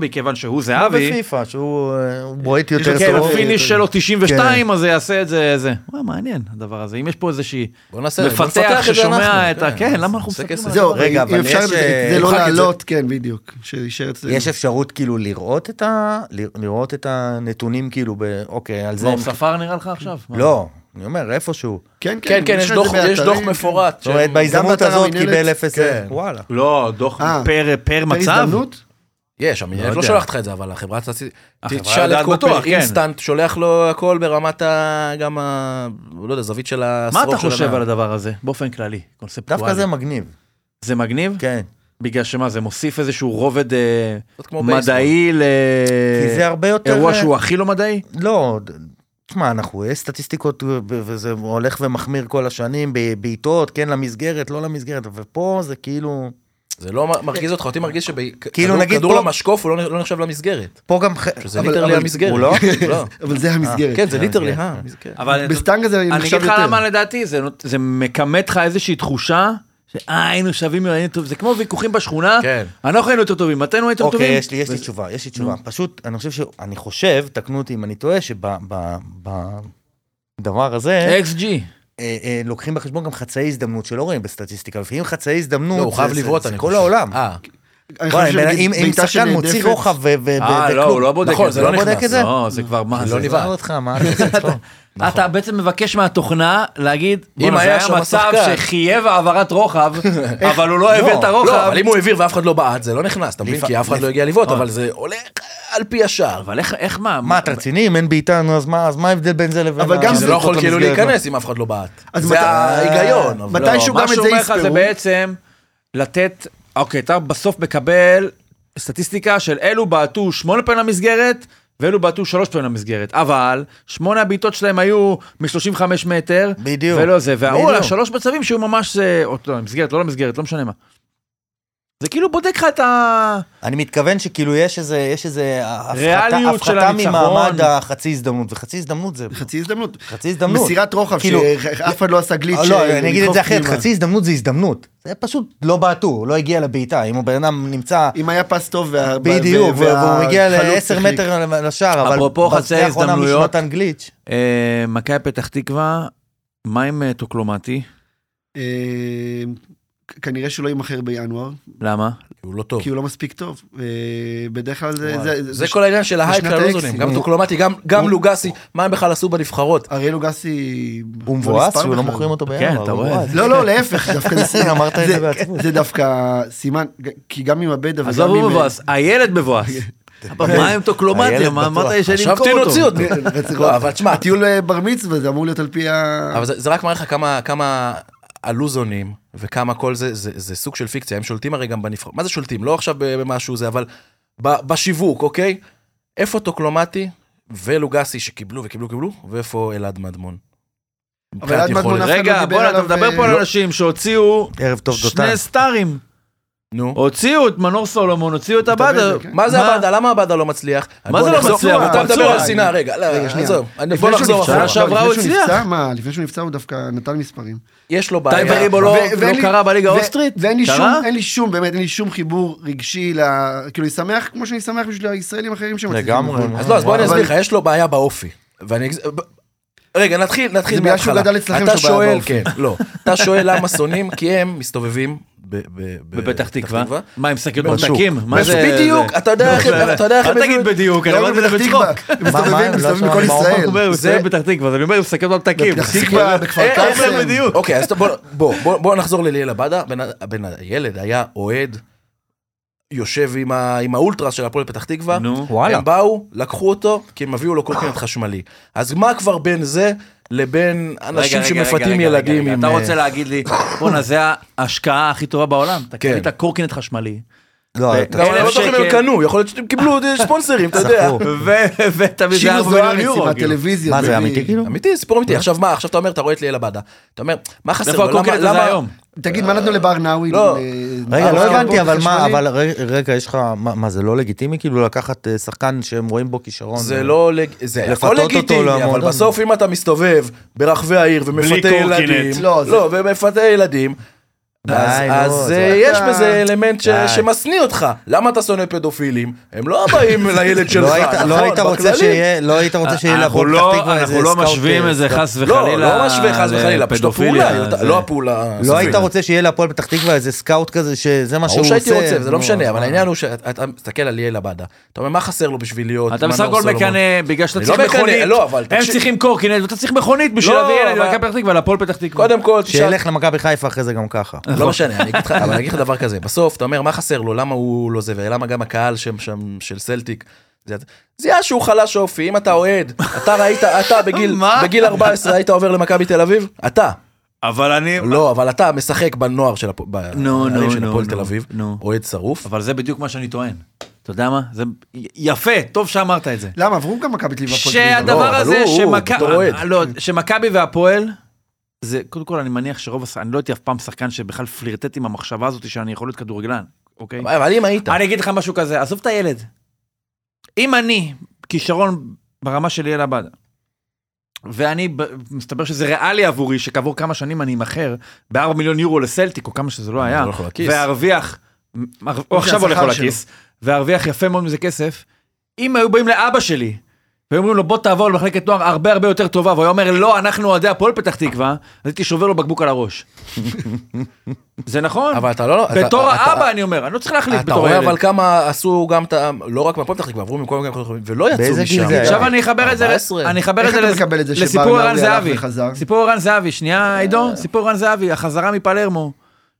B: מכיוון שהוא
E: כמו
B: זהבי,
E: בפיפא, שהוא אה, הוא בועט יותר
B: כן,
E: טוב.
B: הפיניש שלו 92, אז זה יעשה את זה, זה. וואי, מעניין הדבר הזה, אם יש פה איזושהי
D: בוא נעשה, בוא
B: מפתח
D: נפתח את זה
B: ששומע
D: אנחנו,
B: את ה... כן, למה אנחנו
D: נעשה
B: מסתכלים
D: כסף.
B: על זה?
C: זהו,
E: רגע,
C: רגע,
E: אבל
C: אם אפשר
E: יש,
C: את
E: אה,
C: זה לא
E: נמחק את זה.
C: לעלות, כן, בדיוק, שיישאר אצלנו.
E: יש אפשרות כאילו לראות את ה... ל- לראות את הנתונים כאילו ב... אוקיי, על זה...
B: מה,
E: הם-
B: הוא ספר נראה לך עכשיו? מה?
E: לא, אני אומר, איפשהו.
C: כן,
D: כן, כן,
C: לך
D: יש
C: את זה
D: דוח- יש
C: באתרים,
D: דוח
C: כן.
D: מפורט.
E: זאת אומרת,
D: שהם-
E: בהזדמנות
C: באתר
E: הזאת
C: המינהלת?
E: קיבל אפס... אה,
D: כן.
E: וואלה.
B: לא, דוח
C: אה.
B: פר- פר
C: פר
B: מצב?
C: הזדמנות?
D: יש, המנהלת לא
B: יודע.
D: שולחת לך את זה, אבל החברה הסטטיסטית,
B: החברה
D: תשאל
B: יודעת
D: את קופר,
B: בטוח, כן.
D: אינסטנט, שולח לו הכל ברמת ה... גם ה... לא יודע, זווית של
B: מה
D: הסרוק
B: אתה
D: של
B: חושב
D: הנעל.
B: על הדבר הזה, באופן כללי, קונספטואלי?
E: דווקא זה מגניב.
B: זה מגניב?
E: כן. בגלל
B: בגלל שמה, זה מוסיף איזשהו רובד אה,
D: זאת כמו בייסבול.
B: מדעי ל...
E: כי זה הרבה יותר...
D: אה,
B: אירוע שהוא הכי לא מדעי?
E: לא, ד- תשמע, אנחנו, יש סטטיסטיקות, ו- וזה הולך ומחמיר כל השנים, ב- בעיטות, כן למסגרת, לא למסגרת, ופה זה כאילו...
D: זה לא מ- מרגיז אותך, אותי מרגיז
E: כאילו, נגיד
D: שכדור
E: פה-
D: למשקוף הוא לא לא נחשב למסגרת.
E: פה גם... ח-
D: שזה
E: אבל-
D: ליטרלי
E: אבל-
D: המסגרת.
E: הוא לא?
D: לא.
C: אבל זה המסגרת.
D: כן, זה
E: כן,
D: ליטרלי,
E: כן.
D: אה, מסגרת.
B: אבל
C: בסטנגה זה
B: אני
C: נחשב
B: אגיד
C: יותר.
B: לך למה לדעתי, זה נות- זה מכמת לך איזושהי תחושה. שאה, היינו שווים, היינו טוב, זה כמו ויכוחים בשכונה,
D: כן.
B: אנחנו היינו יותר טובים, אתם הייתם טובים.
E: אוקיי, יש לי, יש לי
B: וזה-
E: תשובה, יש לי תשובה. פשוט, אני חושב ש... אני חושב, תקנו אותי אם אני טועה, שבדבר
D: אה,
E: הזה,
B: XG.
E: אה, אה, לוקחים בחשבון גם חצאי הזדמנות שלא רואים בסטטיסטיקה, לפעמים חצאי הזדמנות,
D: לא, הוא
E: זה-
D: חייב
E: זה-
D: לבעוט,
E: זה
D: אני חושב.
E: כל העולם.
D: אה,
C: אני
E: וואי,
C: חושב
E: אם-
C: שנגיד,
E: אם
C: בעיטה
E: שחקן מוציא
C: שנהדפת-
E: רוחב ו- ו-
B: אה,
E: וכלום.
B: לא, הוא לא בודק
D: נכון,
B: את זה.
D: זה לא
E: לא בודק
D: נכנס,
E: את זה?
B: לא, זה כבר, מה
D: לא
B: זה?
D: נבעט.
E: עזוב אותך, מה אתה צחוק.
B: אתה בעצם מבקש מהתוכנה להגיד,
D: אם
B: אם
D: היה
B: היה
D: שם
B: מצב
D: שחקן."
B: שחייב העברת רוחב, אבל הוא לא העביר את
D: לא,
B: הרוחב.
D: אבל אם הוא העביר ואף אחד לא בעט, זה לא נכנס, אתה מבין?
E: לפע-
D: כי אף אחד
E: לפ-
D: לא הגיע לבעוט, אבל זה הולך על פי השער.
B: אבל איך, איך מה?
E: מה, אתה רציני? אם אין בעיטה, נו, אז מה אז מה ההבדל בין זה לבין...
C: אבל
E: ה-
C: גם
D: זה לא יכול
C: זאת
D: כאילו
C: המסגרת,
D: להיכנס אם אף אחד לא בעט.
C: אז
D: זה
C: מתי-
D: ההיגיון. אבל-
C: מתי- מתישהו גם את זה
B: לא, מה שהוא אומר לך
C: יספרו.
B: זה בעצם לתת, אוקיי, אתה בסוף מקבל סטטיסטיקה של אלו בעטו שמונה פעמים למסגרת, ואלו בעטו שלוש פעמים למסגרת, אבל שמונה הבעיטות שלהם היו מ-35 מטר,
E: בדיוק.
B: ולא זה, וההוא
E: בדיוק.
B: על השלוש מצבים שהוא ממש, אה, או לא, מסגרת, לא למסגרת, לא משנה מה. זה כאילו בודק לך את ה...
E: אני מתכוון שכאילו יש איזה, יש איזה הפחתה-
B: ריאליות של
E: הפחתה
B: הניצחון.
E: ממעמד החצי הזדמנות, וחצי הזדמנות זה
C: חצי הזדמנות.
E: חצי הזדמנות.
C: מסירת רוחב,
E: כאילו-
C: שאף אחד לא עשה גליץ'.
E: אה,
C: ש-
E: לא, אני אגיד את
C: לדחוף
E: זה אחרת,
C: פנימה.
E: חצי הזדמנות זה הזדמנות. זה פשוט לא בעטו, הוא לא הגיע לבעיטה, אם הבן אדם נמצא...
C: אם היה פס טוב, וה-
E: בדיוק,
C: וה-
E: והוא מגיע
C: והחלוץ
E: ל-10
C: החליק.
E: מטר לשער, אבל...
B: אפרופו
E: בשנייה
B: חצאי
E: האחרונה מישהו
B: הזדמנויות.
E: נתן גליץ'.
B: אה, מכבי פתח תקווה מה עם אה, טוקלומטי?
C: אה, כ- כנראה שהוא לא יימכר בינואר,
B: למה?
D: כי הוא לא טוב.
C: כי הוא לא מספיק טוב. אה, בדרך כלל זה...
D: וואי.
C: זה-
D: זה כל העניין של ההייפ
C: בשנת
D: של הלוזונים,
C: האקסים.
D: גם
C: הוא-
D: טוקלומטי, גם- גם לוגסי, מה הם בכלל עשו בנבחרות?
C: אריאל לוגסי...
E: הוא
C: לא
E: מבואס
C: נספר
E: שהוא לא
C: בכלל.
E: מוכרים אותו בינואר.
B: כן, אתה
E: הוא
B: רואה.
E: מבואס.
C: לא, לא, להפך, דווקא זה סימן.
E: אמרת את זה בעצמו.
C: זה דווקא סימן, ג- כי גם עם הבדה
B: עזוב,
C: וגם
B: הוא
C: עם...
B: מבואס, הילד מבואס. אבל מה עם טוקלומטי?
E: הילד
B: מה
E: בטוח.
B: אמרת לי שאני
D: חשבתי
B: אמכור
D: נוציא
B: אותו?
D: אותו.
C: רציחות.
D: לא, אבל תשמע,
C: הטיול אה, בר מצווה זה אמור להיות על פי ה...
D: אבל זה, זה רק מראה לך כמה, כמה הלוזונים וכמה כל זה, זה, זה סוג של פיקציה, הם שולטים הרי גם בנבחרות. מה זה שולטים? לא עכשיו במשהו זה, אבל ב, בשיווק, אוקיי? איפה טוקלומטי ולוגסי שקיבלו וקיבלו וקיבלו, ואיפה אלעד מדמון?
C: אבל אלעד
D: מבחינת
C: מדמון
D: יכולת.
C: אף אחד לא
B: רגע,
C: דיבר
B: בוא'נה, אתה
C: עליו,
B: מדבר
C: אה,
B: פה על
C: לא.
B: אנשים שהוציאו
E: ערב טוב דותן.
B: שני סטארים.
D: נו.
B: הוציאו את מנור סולומון, הוציאו את
C: אתה
B: עבדה.
C: מבין, כן.
D: מה זה הבאדה? למה הבאדה לא מצליח?
B: מה
D: בוא
B: זה לא
D: נחזור-
B: מצליח? הוא
D: אתה מדבר
B: פצוע.
D: על שנאה, רגע, לא,
C: רגע, שנייה.
D: עזוב. אני-
C: לפני
D: בוא
C: שהוא
D: נחזור
C: נפצע-
B: שנה
D: אחורה.
B: שעברה
C: לא,
B: הוא
C: לפני שהוא
B: הצליח.
C: נפצע, מה, לפני שהוא נפצע הוא דווקא נתן מספרים.
D: יש לו בעיה.
B: טייב אריבו לא
C: ו- ואין
B: לא
C: לי-
B: קרה בליגה
C: ו-
B: האוסטרית?
C: ואין לי
B: קרה?
C: שום, אין לי שום, באמת, אין לי שום חיבור רגשי, ל- כאילו, אני שמח כמו שאני שמח בשביל הישראלים האחרים שמצליחים.
E: לגמרי.
C: בחו"ל.
D: אז לא, אז בוא אני
C: אבל-
D: אסביר לך, יש לו בעיה באופי. ואני... אגז- ב- רגע, נתחיל, נתחיל
C: זה בגלל שהוא
D: מההתחלה.
C: גדל אצלכם
D: אתה
C: שהוא בעיה
D: שואל,
C: באופי.
D: כן, לא. אתה שואל למה שונאים, כי הם מסתובבים ב- ב- ב-
B: בפתח תקווה. מה, עם שקיות
D: בשוק.
B: ממתקים? מה זה-
D: בדיוק,
B: זה-
D: אתה יודע איך-
B: לא,
D: אתה יודע איך
B: אל
D: הם הביאו-
B: תגיד בדיוק, אני
C: לא
B: אמרתי את זה
C: בפתח תקווה,
B: בצחוק.
C: הם
E: מה,
C: מסתובבים,
E: הם לא
C: מסתובבים
E: שם
C: בכל
E: באומן?
C: ישראל.
B: הוא אומר, הוא
D: זה-
B: מסתובב בפתח תקווה, אז אני אומר, הוא שקיות ממתקים.
C: בפתח תקווה, בכפר
D: איך- איך
C: קאסם.
D: הם בדיוק? אוקיי, אז בוא- בוא בוא- בוא נחזור לליאל עבדה. בן ה- בן הילד היה אוהד, יושב עם ה- עם האולטרס של הפועל פתח תקווה.
B: נו.
E: וואלה.
D: הם באו, לקחו אותו, כי הם הביאו לו קורקינט חשמלי. אז מה כבר בין זה לבין אנשים
B: רגע, רגע, רגע,
D: שמפתים
B: רגע,
D: ילדים
B: רגע,
D: עם...
B: אתה
D: אה,
B: רוצה להגיד לי, בואנה, זה ההשקעה הכי טובה בעולם. אתה
D: כן.
B: קנית קורקינט חשמלי,
E: לא,
B: ו-
E: אתה-
D: גם אני לא
B: אלף
D: בטוח אם
B: שקל.
D: הם קנו, יכול להיות שהם קיבלו ספונסרים, אתה יודע.
E: זכו.
B: ותביא זה
C: שיר
B: 4 מיליון
C: זוארץ עם
B: יורו. כאילו.
C: הטלוויזיה.
E: מה זה
C: בלי-
E: אמיתי כאילו?
D: אמיתי, סיפור אמיתי. עכשיו מה, עכשיו אתה אומר, אתה רואה את ליאל עבדה. אתה אומר, מה חסר
B: איפה
D: לו?
B: הקורקינט
D: למה-
B: הזה
D: למה...
B: היום?
C: תגיד, מה נתנו לברנאווי?
D: לא.
C: ל-
E: רגע, לא
C: אה,
E: הבנתי, אבל מה,
C: חשמלי?
E: אבל ר- רגע, יש לך, מה, מה, זה לא לגיטימי כאילו לקחת אה, שחקן שהם רואים בו כישרון?
D: זה לא, לג- זה
E: לפתות
D: הכל
E: אותו לא
D: לגיטימי, אבל
E: למועדון.
D: בסוף אם אתה מסתובב ברחבי העיר ומפתה
B: קורקינט.
D: ילדים,
C: לא, זה-
D: לא, ומפתה ילדים,
E: די,
D: אז-
E: נו,
D: אז
E: זה-
D: אה, יש בזה אלמנט ש-
E: די.
D: שמשניא אותך. למה אתה שונא פדופילים? הם לא באים לילד שלך,
E: לא היית- לא
D: נכון,
E: היית רוצה
D: בכללי.
E: שיהיה, לא היית רוצה שיהיה
B: אנחנו
E: להפועל
B: לא-
E: פתח תקווה איזה
B: אנחנו לא
E: סקאוט,
B: משווים
E: אה,
B: את זה חס
D: לא,
B: וחלילה.
D: לא משווה חס וחלילה, פשוט
B: לפדופיליה,
D: הפעולה, היא אותה-
B: זה-
D: לא הפעולה.
E: לא היית
D: הסופית.
E: רוצה שיהיה להפועל פתח תקווה איזה סקאוט כזה שזה מה שהוא
D: ברור
E: עושה.
D: שהייתי רוצה, וזה לא
E: נו,
D: משנה, אבל
E: מה?
D: העניין הוא שאתה מסתכל על ליאל עבדה, אתה אומר מה חסר לו בשביל להיות
B: אתה
D: מנור
B: בסך הכל
D: סולומון?"
B: מקנא בגלל שאתה
D: לא אני לא
B: צריך
D: מקנא,
B: מכונית.
D: לא, אבל
B: הם
D: תקשיב-
B: צריכים קורקינט ואתה צריך מכונית בשביל
D: לא,
B: להביא ילד
D: אבל-
B: למכבי פתח תקווה, להפועל פתח תקווה.
D: קודם כל, תשאל-
E: שילך למכבי חיפה אחרי זה גם ככה.
B: נכון.
D: לא משנה, אני אגיד לך, אבל אני אגיד לך דבר כזה, בסוף אתה אומר מה חסר לו, למה הוא לא זה, ולמה גם הקהל שם שם של סלטיק, זה- זיהה שהוא חלש אופי, אם אתה אוהד, אתה ראית, אתה בגיל-
B: מה?
D: בגיל 14 היית עובר למכבי תל אביב? אתה.
B: אבל אני...
D: לא, אבל אתה משחק בנוער של הפו-
B: נו,
D: בערים של
B: נו,
D: הפועל
B: נו,
D: תל אביב,
B: נו.
D: אוהד שרוף.
B: אבל זה בדיוק מה שאני טוען. אתה יודע מה? זה י- יפה, טוב שאמרת את זה.
C: למה, עברו גם מכבי תל אביב. והפועל תל אביב.
D: לא,
B: שהדבר
D: אבל
B: הזה,
D: הוא- הוא
B: שמכ-
D: בתור אוהד.
B: לא, שמכבי והפועל, זה קודם כל אני מניח שרוב, הש- אני לא הייתי אף פעם שחקן שבכלל פלירטט עם המחשבה הזאת שאני יכול להיות כדורגלן, אוקיי?
D: אבל אם היית,
B: אני אגיד לך משהו כזה, עזוב את הילד. אם אני, כישרון ברמה של ליאל עבאדה, ואני, ב- מסתבר שזה ריאלי עבורי, שכעבור כמה שנים אני אמכר ב-4 מיליון יורו לסלטיק, או כמה שזה לא היה,
D: הולך לו לכיס.
B: וארוויח, או עכשיו
C: השכר
B: הולך לו
C: שלו.
B: לכיס, וארוויח יפה מאוד מזה כסף, אם היו באים לאבא שלי, והיו אומרים לו בוא תעבור למחלקת נוער הרבה הרבה יותר טובה, והוא היה אומר לא, אנחנו אוהדי הפועל פתח תקווה, אז הייתי שובר לו בקבוק על הראש. זה נכון,
D: אבל אתה לא, אתה-
B: בתור
D: אתה-
B: האבא אני אומר, אני לא צריך להחליט
D: אתה
B: בתור
D: רואה
B: הילד.
D: אבל כמה עשו גם את ה... לא רק מהפועל פתח תקווה, עברו מכל מיני מקומות ולא יצאו משם.
E: באיזה גיל זה היה?
B: עכשיו אני אחבר את זה,
D: 14.
B: אני אחבר
C: איך
B: את זה
C: אתה
B: לס-
C: מקבל את זה
B: לסיפור
C: שברנאווי
B: ערן
C: הלך
B: זהבי,
C: וחזר?
B: סיפור ערן זהבי, שנייה עידו, סיפור ערן זהבי, החזרה מפלרמו,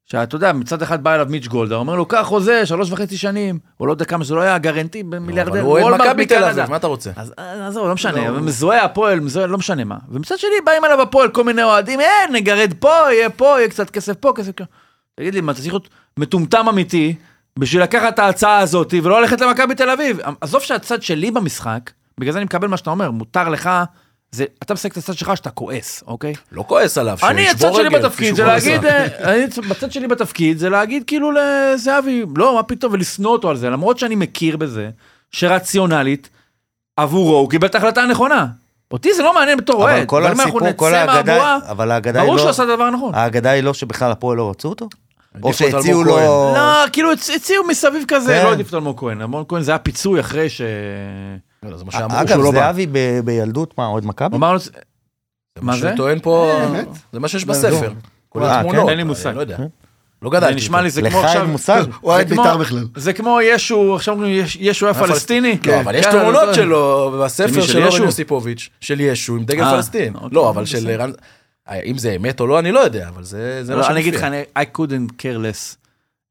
B: שאתה יודע, מצד אחד בא אליו מיץ' גולדהר, אומר לו, קח חוזה, שלוש וחצי שנים, או לא יודע כמה שזה לא היה, גרנטי
D: אבל
B: במיליארדר,
D: הוא אוהד
B: וולמרט
D: מכבי תל
B: מקנדה.
D: אביב, מה אתה רוצה?
B: אז אה, עזוב, לא משנה, אבל מזוהה הפועל, מזוהה, לא משנה מה. ומצד שני באים אליו הפועל כל מיני אוהדים, אה, נגרד פה, יהיה פה, יהיה קצת כסף פה, כסף כאן. תגיד לי, מה, אתה צריך להיות מטומטם אמיתי בשביל לקחת את ההצעה הזאת ולא ללכת למכבי תל אביב? עזוב שהצד שלי במשחק, בגלל זה אני מקבל מה שאתה אומר, מותר לך, זה, אתה משחק את הצד שלך שאתה כועס, אוקיי?
D: לא כועס עליו,
B: אני,
D: שישבור
B: הצד שלי
D: רגל,
B: בתפקיד זה
D: שישבור
B: להגיד,
D: עזרה.
B: אה, אני, בצד שלי בתפקיד זה להגיד כאילו לזהבי, לא, מה פתאום, ולשנוא אותו על זה, למרות שאני מכיר בזה, שרציונלית, עבורו הוא קיבל את ההחלטה הנכונה. אותי זה לא מעניין בתור אוהד,
E: אבל כל
B: אם אנחנו
E: הסיפור, כל
B: נצא
E: האגדה,
B: מהבועה,
E: אבל האגדה היא
B: ברור שהוא
E: לא,
B: עשה נכון. את הדבר הנכון.
E: האגדה היא לא שבכלל הפועל לא רצו אותו? או
D: אותו על
E: שהציעו
D: אלמוג
E: לו...
B: לא, כאילו הצ- הציעו מסביב כזה,
E: כן.
B: לא עדיף את אלמוג כהן, אלמוג כהן זה היה פיצוי אחרי ש...
D: לא, זה מה שאמרו,
E: אגב,
D: שהוא לא בא.
E: זהבי ב- בילדות, מה, אוהד מכבי?
B: אמרנו, מה זה?
D: שהוא טוען פה, זה מה שיש בספר. כולל
E: אה, כן?
D: תמונות.
B: אין לי
D: אני
B: מושג.
D: לא יודע.
E: כן.
D: לא
B: זה
D: גדלתי.
B: נשמע לי, זה
E: לך
B: כמו
E: אין
B: עכשיו...
E: מושג?
C: הוא היה את
B: זה כמו-
C: בית"ר בכלל.
B: זה כמו ישו, עכשיו אומרים, "יש- ישו היה פלסטיני.
D: לא, אבל יש
B: כן,
D: תמונות
B: אבל-
D: שלו בספר
B: למי, של
D: של אורן
B: ישו?
D: יוסיפוביץ', של ישו עם דגל
B: אה,
D: פלסטין.
B: אוקיי,
D: לא, אבל של
B: בסדר.
D: רן... אם זה אמת או לא, אני לא יודע, אבל זה זה מה
B: לא,
D: שמופיע.
B: אני אגיד לך, אני- I couldn't care less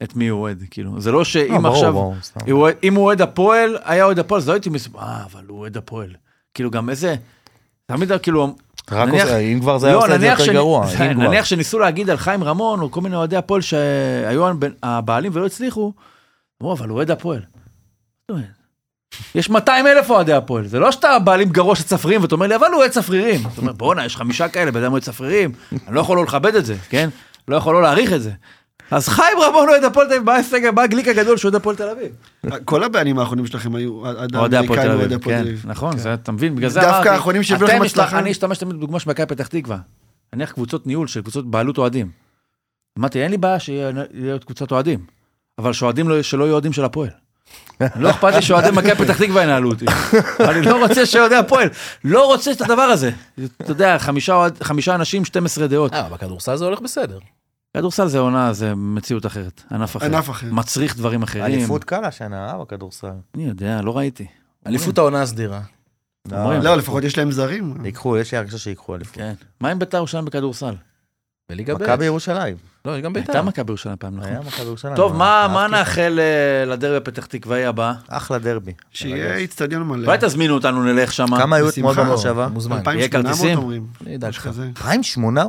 B: את מי הוא אוהד, כאילו. זה לא
E: לא,
B: שאם
E: ברור,
B: עכשיו...
E: ברור, סתם.
B: אם הוא- אם הוא אוהד הפועל, היה אוהד הפועל, אז לא הייתי מסוים, אה, אבל הוא אוהד הפועל. כאילו, גם איזה... תמיד כאילו...
E: רק
B: נניח- לא,
E: עושה- אם כבר זה היה עושה את זה
B: נניח
E: יותר
B: שנ-
E: גרוע,
B: זה-
E: אם כבר.
B: נניח שניסו להגיד על חיים רמון, או כל מיני אוהדי הפועל שהיו הבן- הבעלים ולא הצליחו, אמרו, אבל הוא אוהד הפועל. מה זאת אומרת? יש 200 אלף אוהדי הפועל, זה לא שאתה בעלים גרוע של צפרירים ואתה אומר לי, אבל הוא אוהד צפרירים. אתה אומר, בואנה, יש חמישה כאלה, בן אדם אוהד צפרירים, אני לא יכול לא לכבד את זה, כן? לא יכול לא להעריך את זה. אז חיים רמון אוהד הפועל תל אביב, מה ההישג, מה הגליק הגדול שהוא אוהד הפועל תל אביב?
C: לא- כל הבעלים האחרונים שלכם היו, עד- עד
B: אוהדי הפועל
C: האמריקאים
B: תל
C: אוהדי
B: אביב,
C: הפועל
B: כן,
C: תל אביב.
B: נכון, זה אתה מבין, בגלל זה
C: דווקא
B: אמרתי.
C: האחרונים שהביאו לכם
B: אתם
C: הצלחה.
B: השת- אני אשתמש תמיד בדוגמה של מכבי פתח תקווה. נניח קבוצות ניהול של קבוצות בעלות אוהדים. אמרתי, אין לי בעיה שיהיה יהיה עוד קבוצת אוהדים, אבל שאוהדים לא- שלא יהיו אוהדים של הפועל. לא אכפת לי שאוהדי מכבי פתח תקווה ינהלו אותי. אני לא רוצה שאוהדי הפועל, לא רוצה את הדבר הזה. אתה יודע, חמישה אוהד- חמישה אנשים, 12 דעות.
D: אה, בכדורסל זה הולך בסדר.
B: כדורסל זה עונה, זה מציאות אחרת, ענף אחר.
C: ענף אחר.
B: מצריך דברים אחרים.
E: אליפות קל השנה, אה, בכדורסל.
B: אני יודע, לא ראיתי.
D: אליפות העונה הסדירה.
B: אומרים.
C: לא, לפחות יש להם זרים.
B: אה,
E: ייקחו, יש לי הרגשה שיקחו אליפות.
B: כן. מה עם בית"ר ירושלים בכדורסל?
D: בליגה ב'.
E: מכבי ירושלים.
D: לא, יש גם בית"ר.
B: הייתה מכבי ירושלים פעם, נכון?
E: היה מכבי ירושלים.
B: טוב,
E: אבל
B: מה
E: אהבתי
B: מה
E: אותה.
B: נאחל אה, לדרבי הפתח תקוואי הבא?
E: אחלה דרבי.
C: שיהיה
E: מרגש.
C: איצטדיון מלא.
B: אה, אולי תזמינו אותנו, נלך שם.
E: כמה היו אתמול
C: בשמחה.
B: אה?
E: במושבה?
D: מוזמן.
B: יהיה
C: 2,800
B: כרטיסים?
C: אומרים.
D: אני אדאג לך.
C: כזה.
E: פריים שמונה?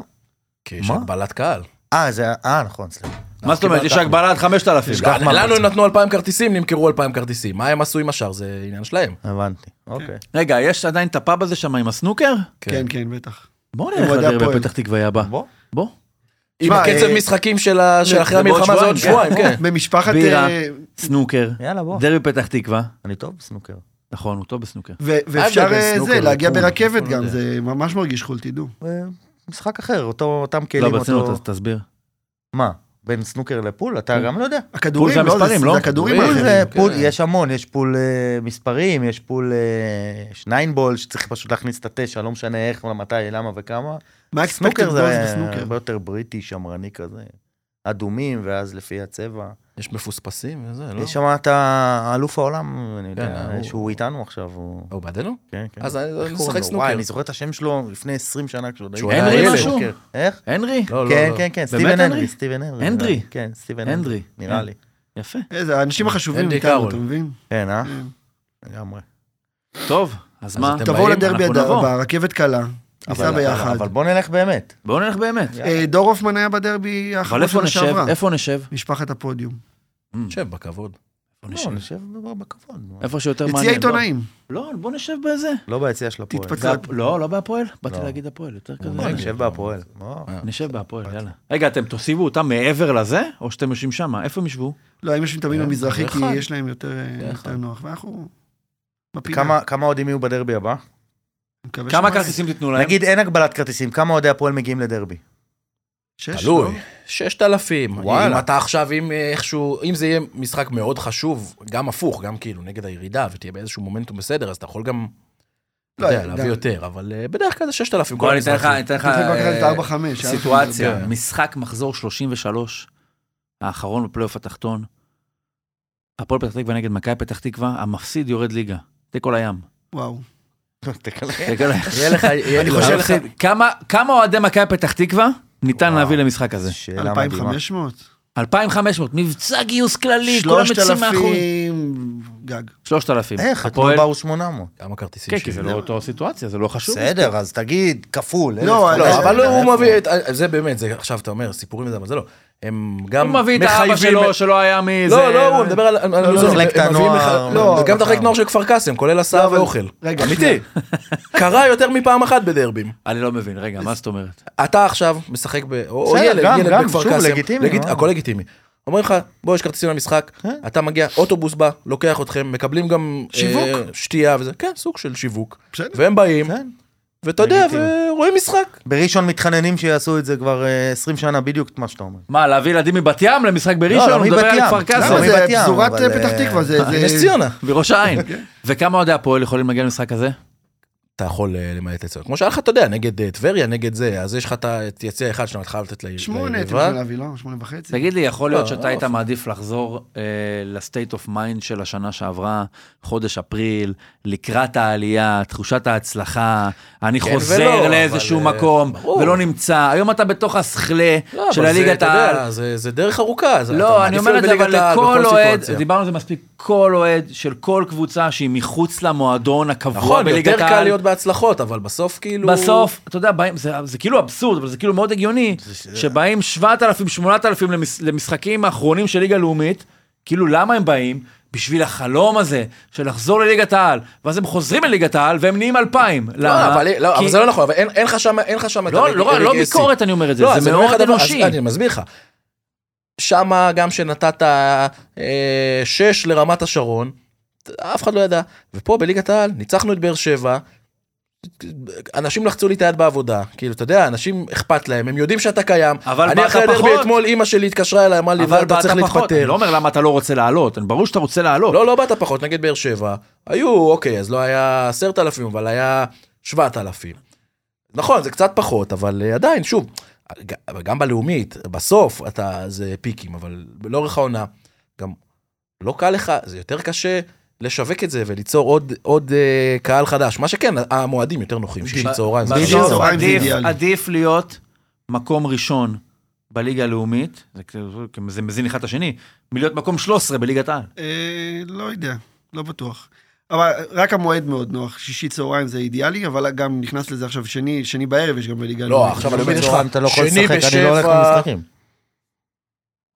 D: כי יש
E: מה?
D: הגבלת קהל.
E: אה, זה היה... אה, נכון, סליחה.
B: מה זאת אומרת? יש הגבלה עד 5,000.
D: לנו הם נתנו 2,000 כרטיסים, נמכרו 2,000 כרטיסים. מה הם עשו עם השאר? זה עניין שלהם.
E: הבנתי. אוקיי.
B: רגע, יש עדיין את הפאב הזה שם עם הסנוקר?
C: כן, כן, בטח.
B: בוא
C: עם
B: נלך
C: אוהדי
B: לדרבי
C: הפועל.
B: הפתח תקוואי הבא.
E: בוא.
B: בוא.
D: עם
C: תשמע,
D: הקצב
C: אה,
D: משחקים של ה- של אחרי
B: זה בעוד
D: המלחמה זה עוד
B: שבועיים,
D: שבועיים, כן.
C: במשפחת...
B: בירה.
C: אה,
B: סנוקר,
E: יאללה, בוא.
B: דרבי פתח תקווה.
E: אני טוב בסנוקר.
B: נכון, הוא טוב בסנוקר.
C: ו- ואפשר
D: ההבדל בין
C: אה,
D: סנוקר
C: זה, להגיע
D: לפול?
C: ברכבת
D: לא
C: גם,
D: יודע.
C: זה ממש מרגיש חול, תדעו.
E: אה, משחק אחר, אותו- אותם
B: לא,
E: כלים,
B: ברצינות,
E: אותו...
B: אז תסביר.
E: מה? בין סנוקר לפול? אתה
B: כן.
E: גם לא יודע.
C: הכדורים,
B: פול זה
C: לא? זה-
B: המספרים, לא?
C: זה הכדורים
D: פול
E: פול
C: האחרים.
E: זה
D: כן.
E: פול, יש המון, יש פול אה, מספרים, יש פול אה, שניינבול, שצריך פשוט להכניס את התשע, לא משנה איך, מתי, למה וכמה.
C: מה לא,
E: סנוקר
C: אקספקטד
E: זה
C: גולס
E: היה הרבה
C: בסנוקר?
E: יותר בריטי, שמרני כזה. אדומים, ואז לפי הצבע.
D: כן. יש מפוספסים וזה, לא?
E: יש שם את ה- אלוף העולם, אני יודע,
D: כן,
E: שהוא איתנו עכשיו, הוא...
D: הוא בעדנו?
E: כן, כן.
D: אז אני-
E: איך
D: אני
E: קוראים
D: משחק
E: לו?
D: סנוקר.
E: וואי, אני זוכר את השם שלו לפני 20 שנה כשהוא עוד
D: שהוא
E: הייתי-
D: היה
E: אה,
D: ילד.
E: משהו?
B: סנוקר.
E: איך?
B: הנרי?
D: לא, לא,
E: כן,
D: לא.
E: כן, כן, סטיבן
B: הנדרי?
E: הנדרי, סטיבן הנדרי.
B: הנדרי?
E: נראה לי. כן, סטיבן הנדרי,
B: הנדרי.
E: נראה לי.
B: יפה.
C: איזה, אה,
B: אה,
C: האנשים החשובים
D: אנדי
C: איתנו,
D: קארול.
C: אתה מבין?
E: כן,
D: Mm.
E: אה? לגמרי.
B: טוב, אז מה?
D: אתם
C: תבואו
D: באים,
C: לדרבי
B: אנחנו נבוא.
C: הבא, רכבת קלה, ניסע
E: אבל-
C: ביחד.
E: אבל בוא נלך באמת.
B: בואו נלך באמת.
C: אה, דור הופמן היה בדרבי
B: אבל
C: האחרון
B: איפה
C: שנה
B: נשב?
C: שעברה.
B: איפה נשב?
C: משפחת הפודיום.
D: שב בכבוד.
B: בוא
E: לא,
B: נשב.
E: נשב בכבוד. נו.
B: איפה שיותר מעניין.
C: יציע עיתונאים.
B: לא, בוא נשב באיזה.
E: לא ביציע של הפועל.
C: תתפצל.
B: זה הפ- לא, לא בהפועל. באתי
E: לא.
B: להגיד הפועל, יותר כזה.
E: לא, נשב בהפועל. בוא.
B: נשב בהפועל, יאללה. רגע, אתם תוסיבו אותם מעבר לזה, או שאתם יושבים שם? איפה הם ישבו?
C: לא, הם יושבים תמיד
B: כן,
C: במזרחי, כי
D: אחד.
C: יש להם יותר אה,
D: זה אחד.
C: יותר נוח. ואנחנו... בפינה.
E: כמה- כמה אוהדים יהיו בדרבי הבא?
C: אני מקווה
B: כמה
C: שמעלה.
B: כרטיסים תיתנו להם?
E: נגיד אין הגבלת כרטיסים, כמה אוהדי הפועל מגיעים לדרבי?
C: שש, לא?
D: תלוי. אה, 6,000.
E: וואלה.
D: אם אתה עכשיו, אם אה, איכשהו, אם זה יהיה משחק מאוד חשוב, גם הפוך, גם כאילו נגד הירידה, ותהיה באיזשהו מומנטום בסדר, אז אתה יכול גם, אתה
C: לא,
D: יודע,
C: גם-
D: להביא יותר, אבל אה, בדרך כלל זה 6,000.
B: בוא,
D: כל
B: אני אתן לך,
D: המשחקים.
B: אני אתן לך
C: אתה צריך לקחת את
B: אה,
C: ארבע, חמש, אה?
B: סיטואציה.
D: כן.
B: משחק מחזור 33, האחרון בפלייאוף התחתון. הפועל פתח תקווה נגד מכבי פתח תקווה, המפסיד יורד ליגה. תיקו לים.
C: וואו.
B: תיקו לים.
D: יהיה לך, יהיה-
B: אני
D: לא,
B: חושב
D: יהיה לך-
B: לך, כמה- כמה אוהדי מכבי פתח תקווה ניתן
E: וואו.
B: להביא למשחק הזה?
E: שאלה אה, מדהימה.
C: 2,500?
B: 2,500, מבצע גיוס
E: אה,
B: כללי, כולם יוצאים מאחורי.
C: 3,000 גג.
B: 3,000.
E: איך? אתמול
B: הפועל-
E: באו 800.
D: כמה כרטיסים
B: כן, כי לא זה לא אותו סיטואציה, זה לא חשוב.
E: בסדר, אז תגיד, כפול.
C: לא,
E: אלף,
D: לא,
E: אלף,
D: אבל
E: אלף.
D: הוא מביא, את- זה באמת, זה עכשיו אתה אומר, סיפורים וזה, אבל זה לא. הם גם
B: הוא מביא את האבא
D: מחייבים-
B: שלו, שלא היה מזה.
D: לא, לא, הוא מדבר על... על- על- זה-
E: מחלקת
D: הם מביאים לך-
E: הנוער,
D: לא,
E: הרווחה.
D: גם את החלק נוער של כפר קאסם, כולל הסעה
C: אבל-
D: לא, ואוכל.
C: רגע,
D: אמיתי. אה, קרה יותר מפעם אחת בדרבים.
B: אני לא מבין, רגע, מה זאת אומרת?
D: אתה עכשיו משחק ב... או
E: בסדר,
D: ילד,
E: גם-
D: ילד
E: גם,
D: בכפר
E: שוב,
D: קאסם.
E: לגיטימי,
D: לגיט-
E: מה?
D: הכל לגיטימי. אומרים לך, בוא, יש כרטיסים למשחק, אתה מגיע, אוטובוס בא, לוקח אתכם, מקבלים גם...
C: שיווק.
D: אה, שתייה וזה, כן, סוג של שיווק.
C: בסדר.
D: והם באים,
E: כן.
D: ואתה יודע,
E: לגיטימי.
D: ורואים משחק.
E: בראשון מתחננים שיעשו את זה כבר אה, 20 שנה בדיוק את מה שאתה אומר.
B: מה, להביא ילדים מבת ים למשחק
E: לא,
B: בראשון? הוא
E: מבת
B: מדבר על
E: ים.
B: כפר
E: אז
C: למה
E: אומרים
B: קאסם,
C: זה
E: בת ים,
C: פזורת
E: אבל,
C: פתח
E: אה,
C: תקווה, זה... זה-
D: נס ציונה.
B: בראש העין. וכמה אוהדי הפועל יכולים להגיע למשחק הזה?
D: אתה יכול אה, למעט יציאות. כמו שהיה לך, אתה יודע, נגד אה, טבריה, נגד זה, אז יש לך את ה- את יציע אחד שאתה חייב לתת ליריבה.
C: שמונה,
D: אה,
C: אתם יכולים להביא, לא? שמונה וחצי.
B: תגיד לי, יכול להיות
D: לא,
B: שאתה
D: לא
B: היית
D: אופי.
B: מעדיף לחזור אה, לסטייט אוף מיינד של השנה שעברה, חודש אפריל, לקראת העלייה, תחושת ההצלחה, אני
D: כן
B: חוזר
D: ולא,
B: לאיזשהו
D: אבל, אה,
B: מקום,
D: ברור.
B: ולא נמצא, היום אתה בתוך הסכלה
D: לא, אבל
B: של
D: זה,
B: הליגת
D: אתה
B: העל.
D: יודע, זה זה דרך ארוכה. זה- אתה
B: לא, אני
D: מעדיף
B: אומר את זה,
D: להיות
B: אבל
D: בליגת העל
B: לכל
D: בכל
B: אוהד,
D: סיטואציה.
B: דיברנו על זה מספיק, כל אוהד של כל קבוצה שהיא מחוץ למועדון הקבוע
D: נכון, יותר
B: בליגת
D: קל
B: העל.
D: להיות בהצלחות, אבל בסוף כאילו...
B: בסוף, אתה יודע, באים, זה, זה כאילו אבסורד, אבל זה כאילו מאוד הגיוני, שבאים 7,000-8,000 למש, למשחקים האחרונים של ליגה לאומית, כאילו למה הם באים? בשביל החלום הזה של לחזור לליגת העל, ואז הם חוזרים לליגת העל והם נהיים 2,000.
D: לא,
B: למה?
D: אבל- לא,
B: כי-
D: אבל זה לא נכון, אבל אין- אין לך שם אין לך שם את
B: לא,
D: הרגע-
B: לא, לא
D: רגע השיא.
B: ביקורת אני אומר את זה,
D: לא, אז
B: זה
D: אני אומר לך
B: מאוד
D: דבר- אז
B: אנושי.
D: אני מסביר לך. שמה גם שנתת אה, שש לרמת השרון, אף אחד לא ידע. ופה בליגת העל ניצחנו את באר שבע, אנשים לחצו לי את היד בעבודה, כאילו אתה יודע, אנשים אכפת להם, הם יודעים שאתה קיים.
B: אבל
D: אני
B: באת
D: אחרי הדרבי
B: פחות.
D: אתמול, אימא שלי התקשרה אליי, אמרה לי,
B: אבל
D: אתה
B: באת
D: צריך
B: פחות, אני
D: להתפטר.
B: לא אומר למה אתה לא רוצה לעלות, אני- ברור שאתה רוצה לעלות.
D: לא, לא באת פחות, נגד באר שבע, היו, אוקיי, אז לא היה 10,000, אבל היה 7,000. נכון, זה קצת פחות, אבל אה, עדיין, שוב, ג- גם בלאומית, בסוף אתה, זה פיקים, אבל לאורך העונה, גם לא קל לך, זה יותר קשה לשווק את זה וליצור עוד, עוד אה, קהל חדש. מה שכן, המועדים יותר נוחים, שישי צהריים. זה
C: בדיוק.
D: בסוף.
B: בסוף
C: צהריים זה
B: עדיף-
C: אידיאלי.
B: עדיף להיות מקום ראשון בליגה הלאומית, זה כאילו- זה מזין אחד את השני, מלהיות מקום 13 בליגת העל.
C: אה, לא יודע, לא בטוח. אבל רק המועד מאוד נוח, שישי צהריים זה אידיאלי, אבל גם נכנס לזה עכשיו שני, שני בערב יש גם בליגה.
D: לא,
C: הלאומית.
D: עכשיו
E: אבל
D: הלאומית יש לך
E: בצהריים אתה לא יכול
D: שני
E: לשחק, אני לא הולך
D: בשבע.
E: למשחקים.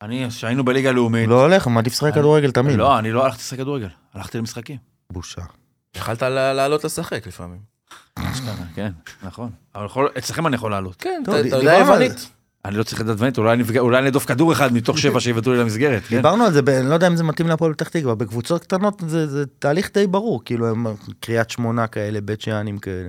B: אני, כשהיינו בליגה הלאומית,
E: לא הולך, מעדיף לשחק כדורגל תמיד.
B: לא, אני לא הלכתי לשחק כדורגל, הלכתי למשחקים.
E: בושה.
D: יכלת לה- לעלות לשחק לפעמים.
B: כן, נכון. אבל יכול- אצלכם אני יכול לעלות.
D: כן,
E: טוב,
D: אתה- אתה
E: דיברנו
D: יודע
E: על
D: יוונית.
B: אני לא צריך לדעת דברים, אולי נפגע- אולי אני אדוף כדור אחד מתוך שבע שיבטאו לי למסגרת. כן?
E: דיברנו על זה, ב- אני לא יודע אם זה מתאים להפועל פתח תקווה, בקבוצות קטנות זה זה תהליך די ברור, כאילו הם קריית שמונה כאלה, בית שאנים כאלה.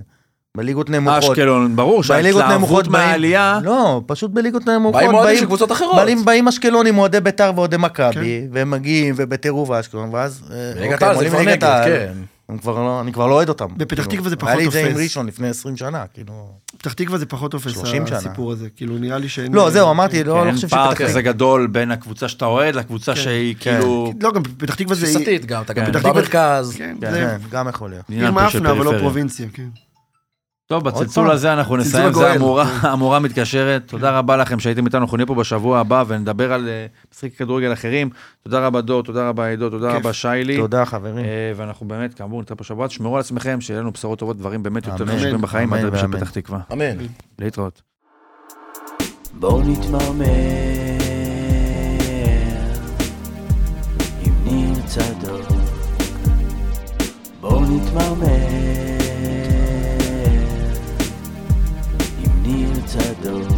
E: בליגות נמוכות.
B: אשקלון, ברור
E: בליגות נמוכות
B: שההתלהבות
E: באים-
B: מהעלייה,
E: לא, פשוט בליגות נמוכות
D: באים אוהדים של קבוצות אחרות.
E: באים- באים אשקלונים אוהדי ביתר ואוהדי מכבי, והם מגיעים ובטירוף אשקלון, ואז... אה,
D: בליגת
E: אוקיי,
D: העל
E: הם
D: זה
E: עולים
D: כבר
E: לליגת
D: נגד,
E: העל.
D: כן.
E: הם כבר לא- אני כבר לא אוהד אותם.
C: בפתח
E: כאילו,
C: תקווה זה
E: היה לי את
C: פחות
E: זה עם
C: תופס.
E: ראשון לפני 20 שנה, כאילו...
C: פתח תקווה זה פחות תופס
E: 30 שנה.
C: הסיפור הזה, כאילו נראה לי שאין...
E: לא, זהו, אמרתי,
D: כן,
E: לא לא
B: אין
E: חושב
B: כן,
E: כן,
B: פער
E: שפתח
B: כזה
E: תקווה...
B: גדול בין הקבוצה שאתה אוהד לקבוצה שהיא כאילו...
C: לא, גם פתח תקווה זה...
D: תפיסתית גם, אתה גם
B: כן.
D: במרכז.
C: כן,
B: כן,
C: זה
E: כן, גם יכול להיות.
B: עניין
C: עיר
B: פה של
C: מאפנה, אבל לא
B: פריפריה.
C: פרובינציה, כן.
B: טוב, בצלצול
E: פעם.
B: הזה אנחנו
C: צלצול
B: נסיים, זה
C: הגואל.
B: המורה, המורה מתקשרת. תודה רבה לכם שהייתם איתנו, אנחנו נהיה פה בשבוע הבא ונדבר על אה, משחקי כדורגל אחרים. תודה רבה דור, תודה רבה עידו, תודה
C: כיף.
B: רבה שיילי.
E: תודה, חברים.
B: אה, ואנחנו באמת, כאמור, נתראה פה שבוע, תשמרו על עצמכם, שיהיה לנו בשורות טובות, דברים באמת יותר
E: אמן.
B: חשובים בחיים,
E: אמן
B: עד של
E: ואמן.
B: פתח תקווה.
D: אמן.
B: להתראות.
A: בואו נתמרמר עם ניר צדוק בואו נתמרמר עם ניר צדוק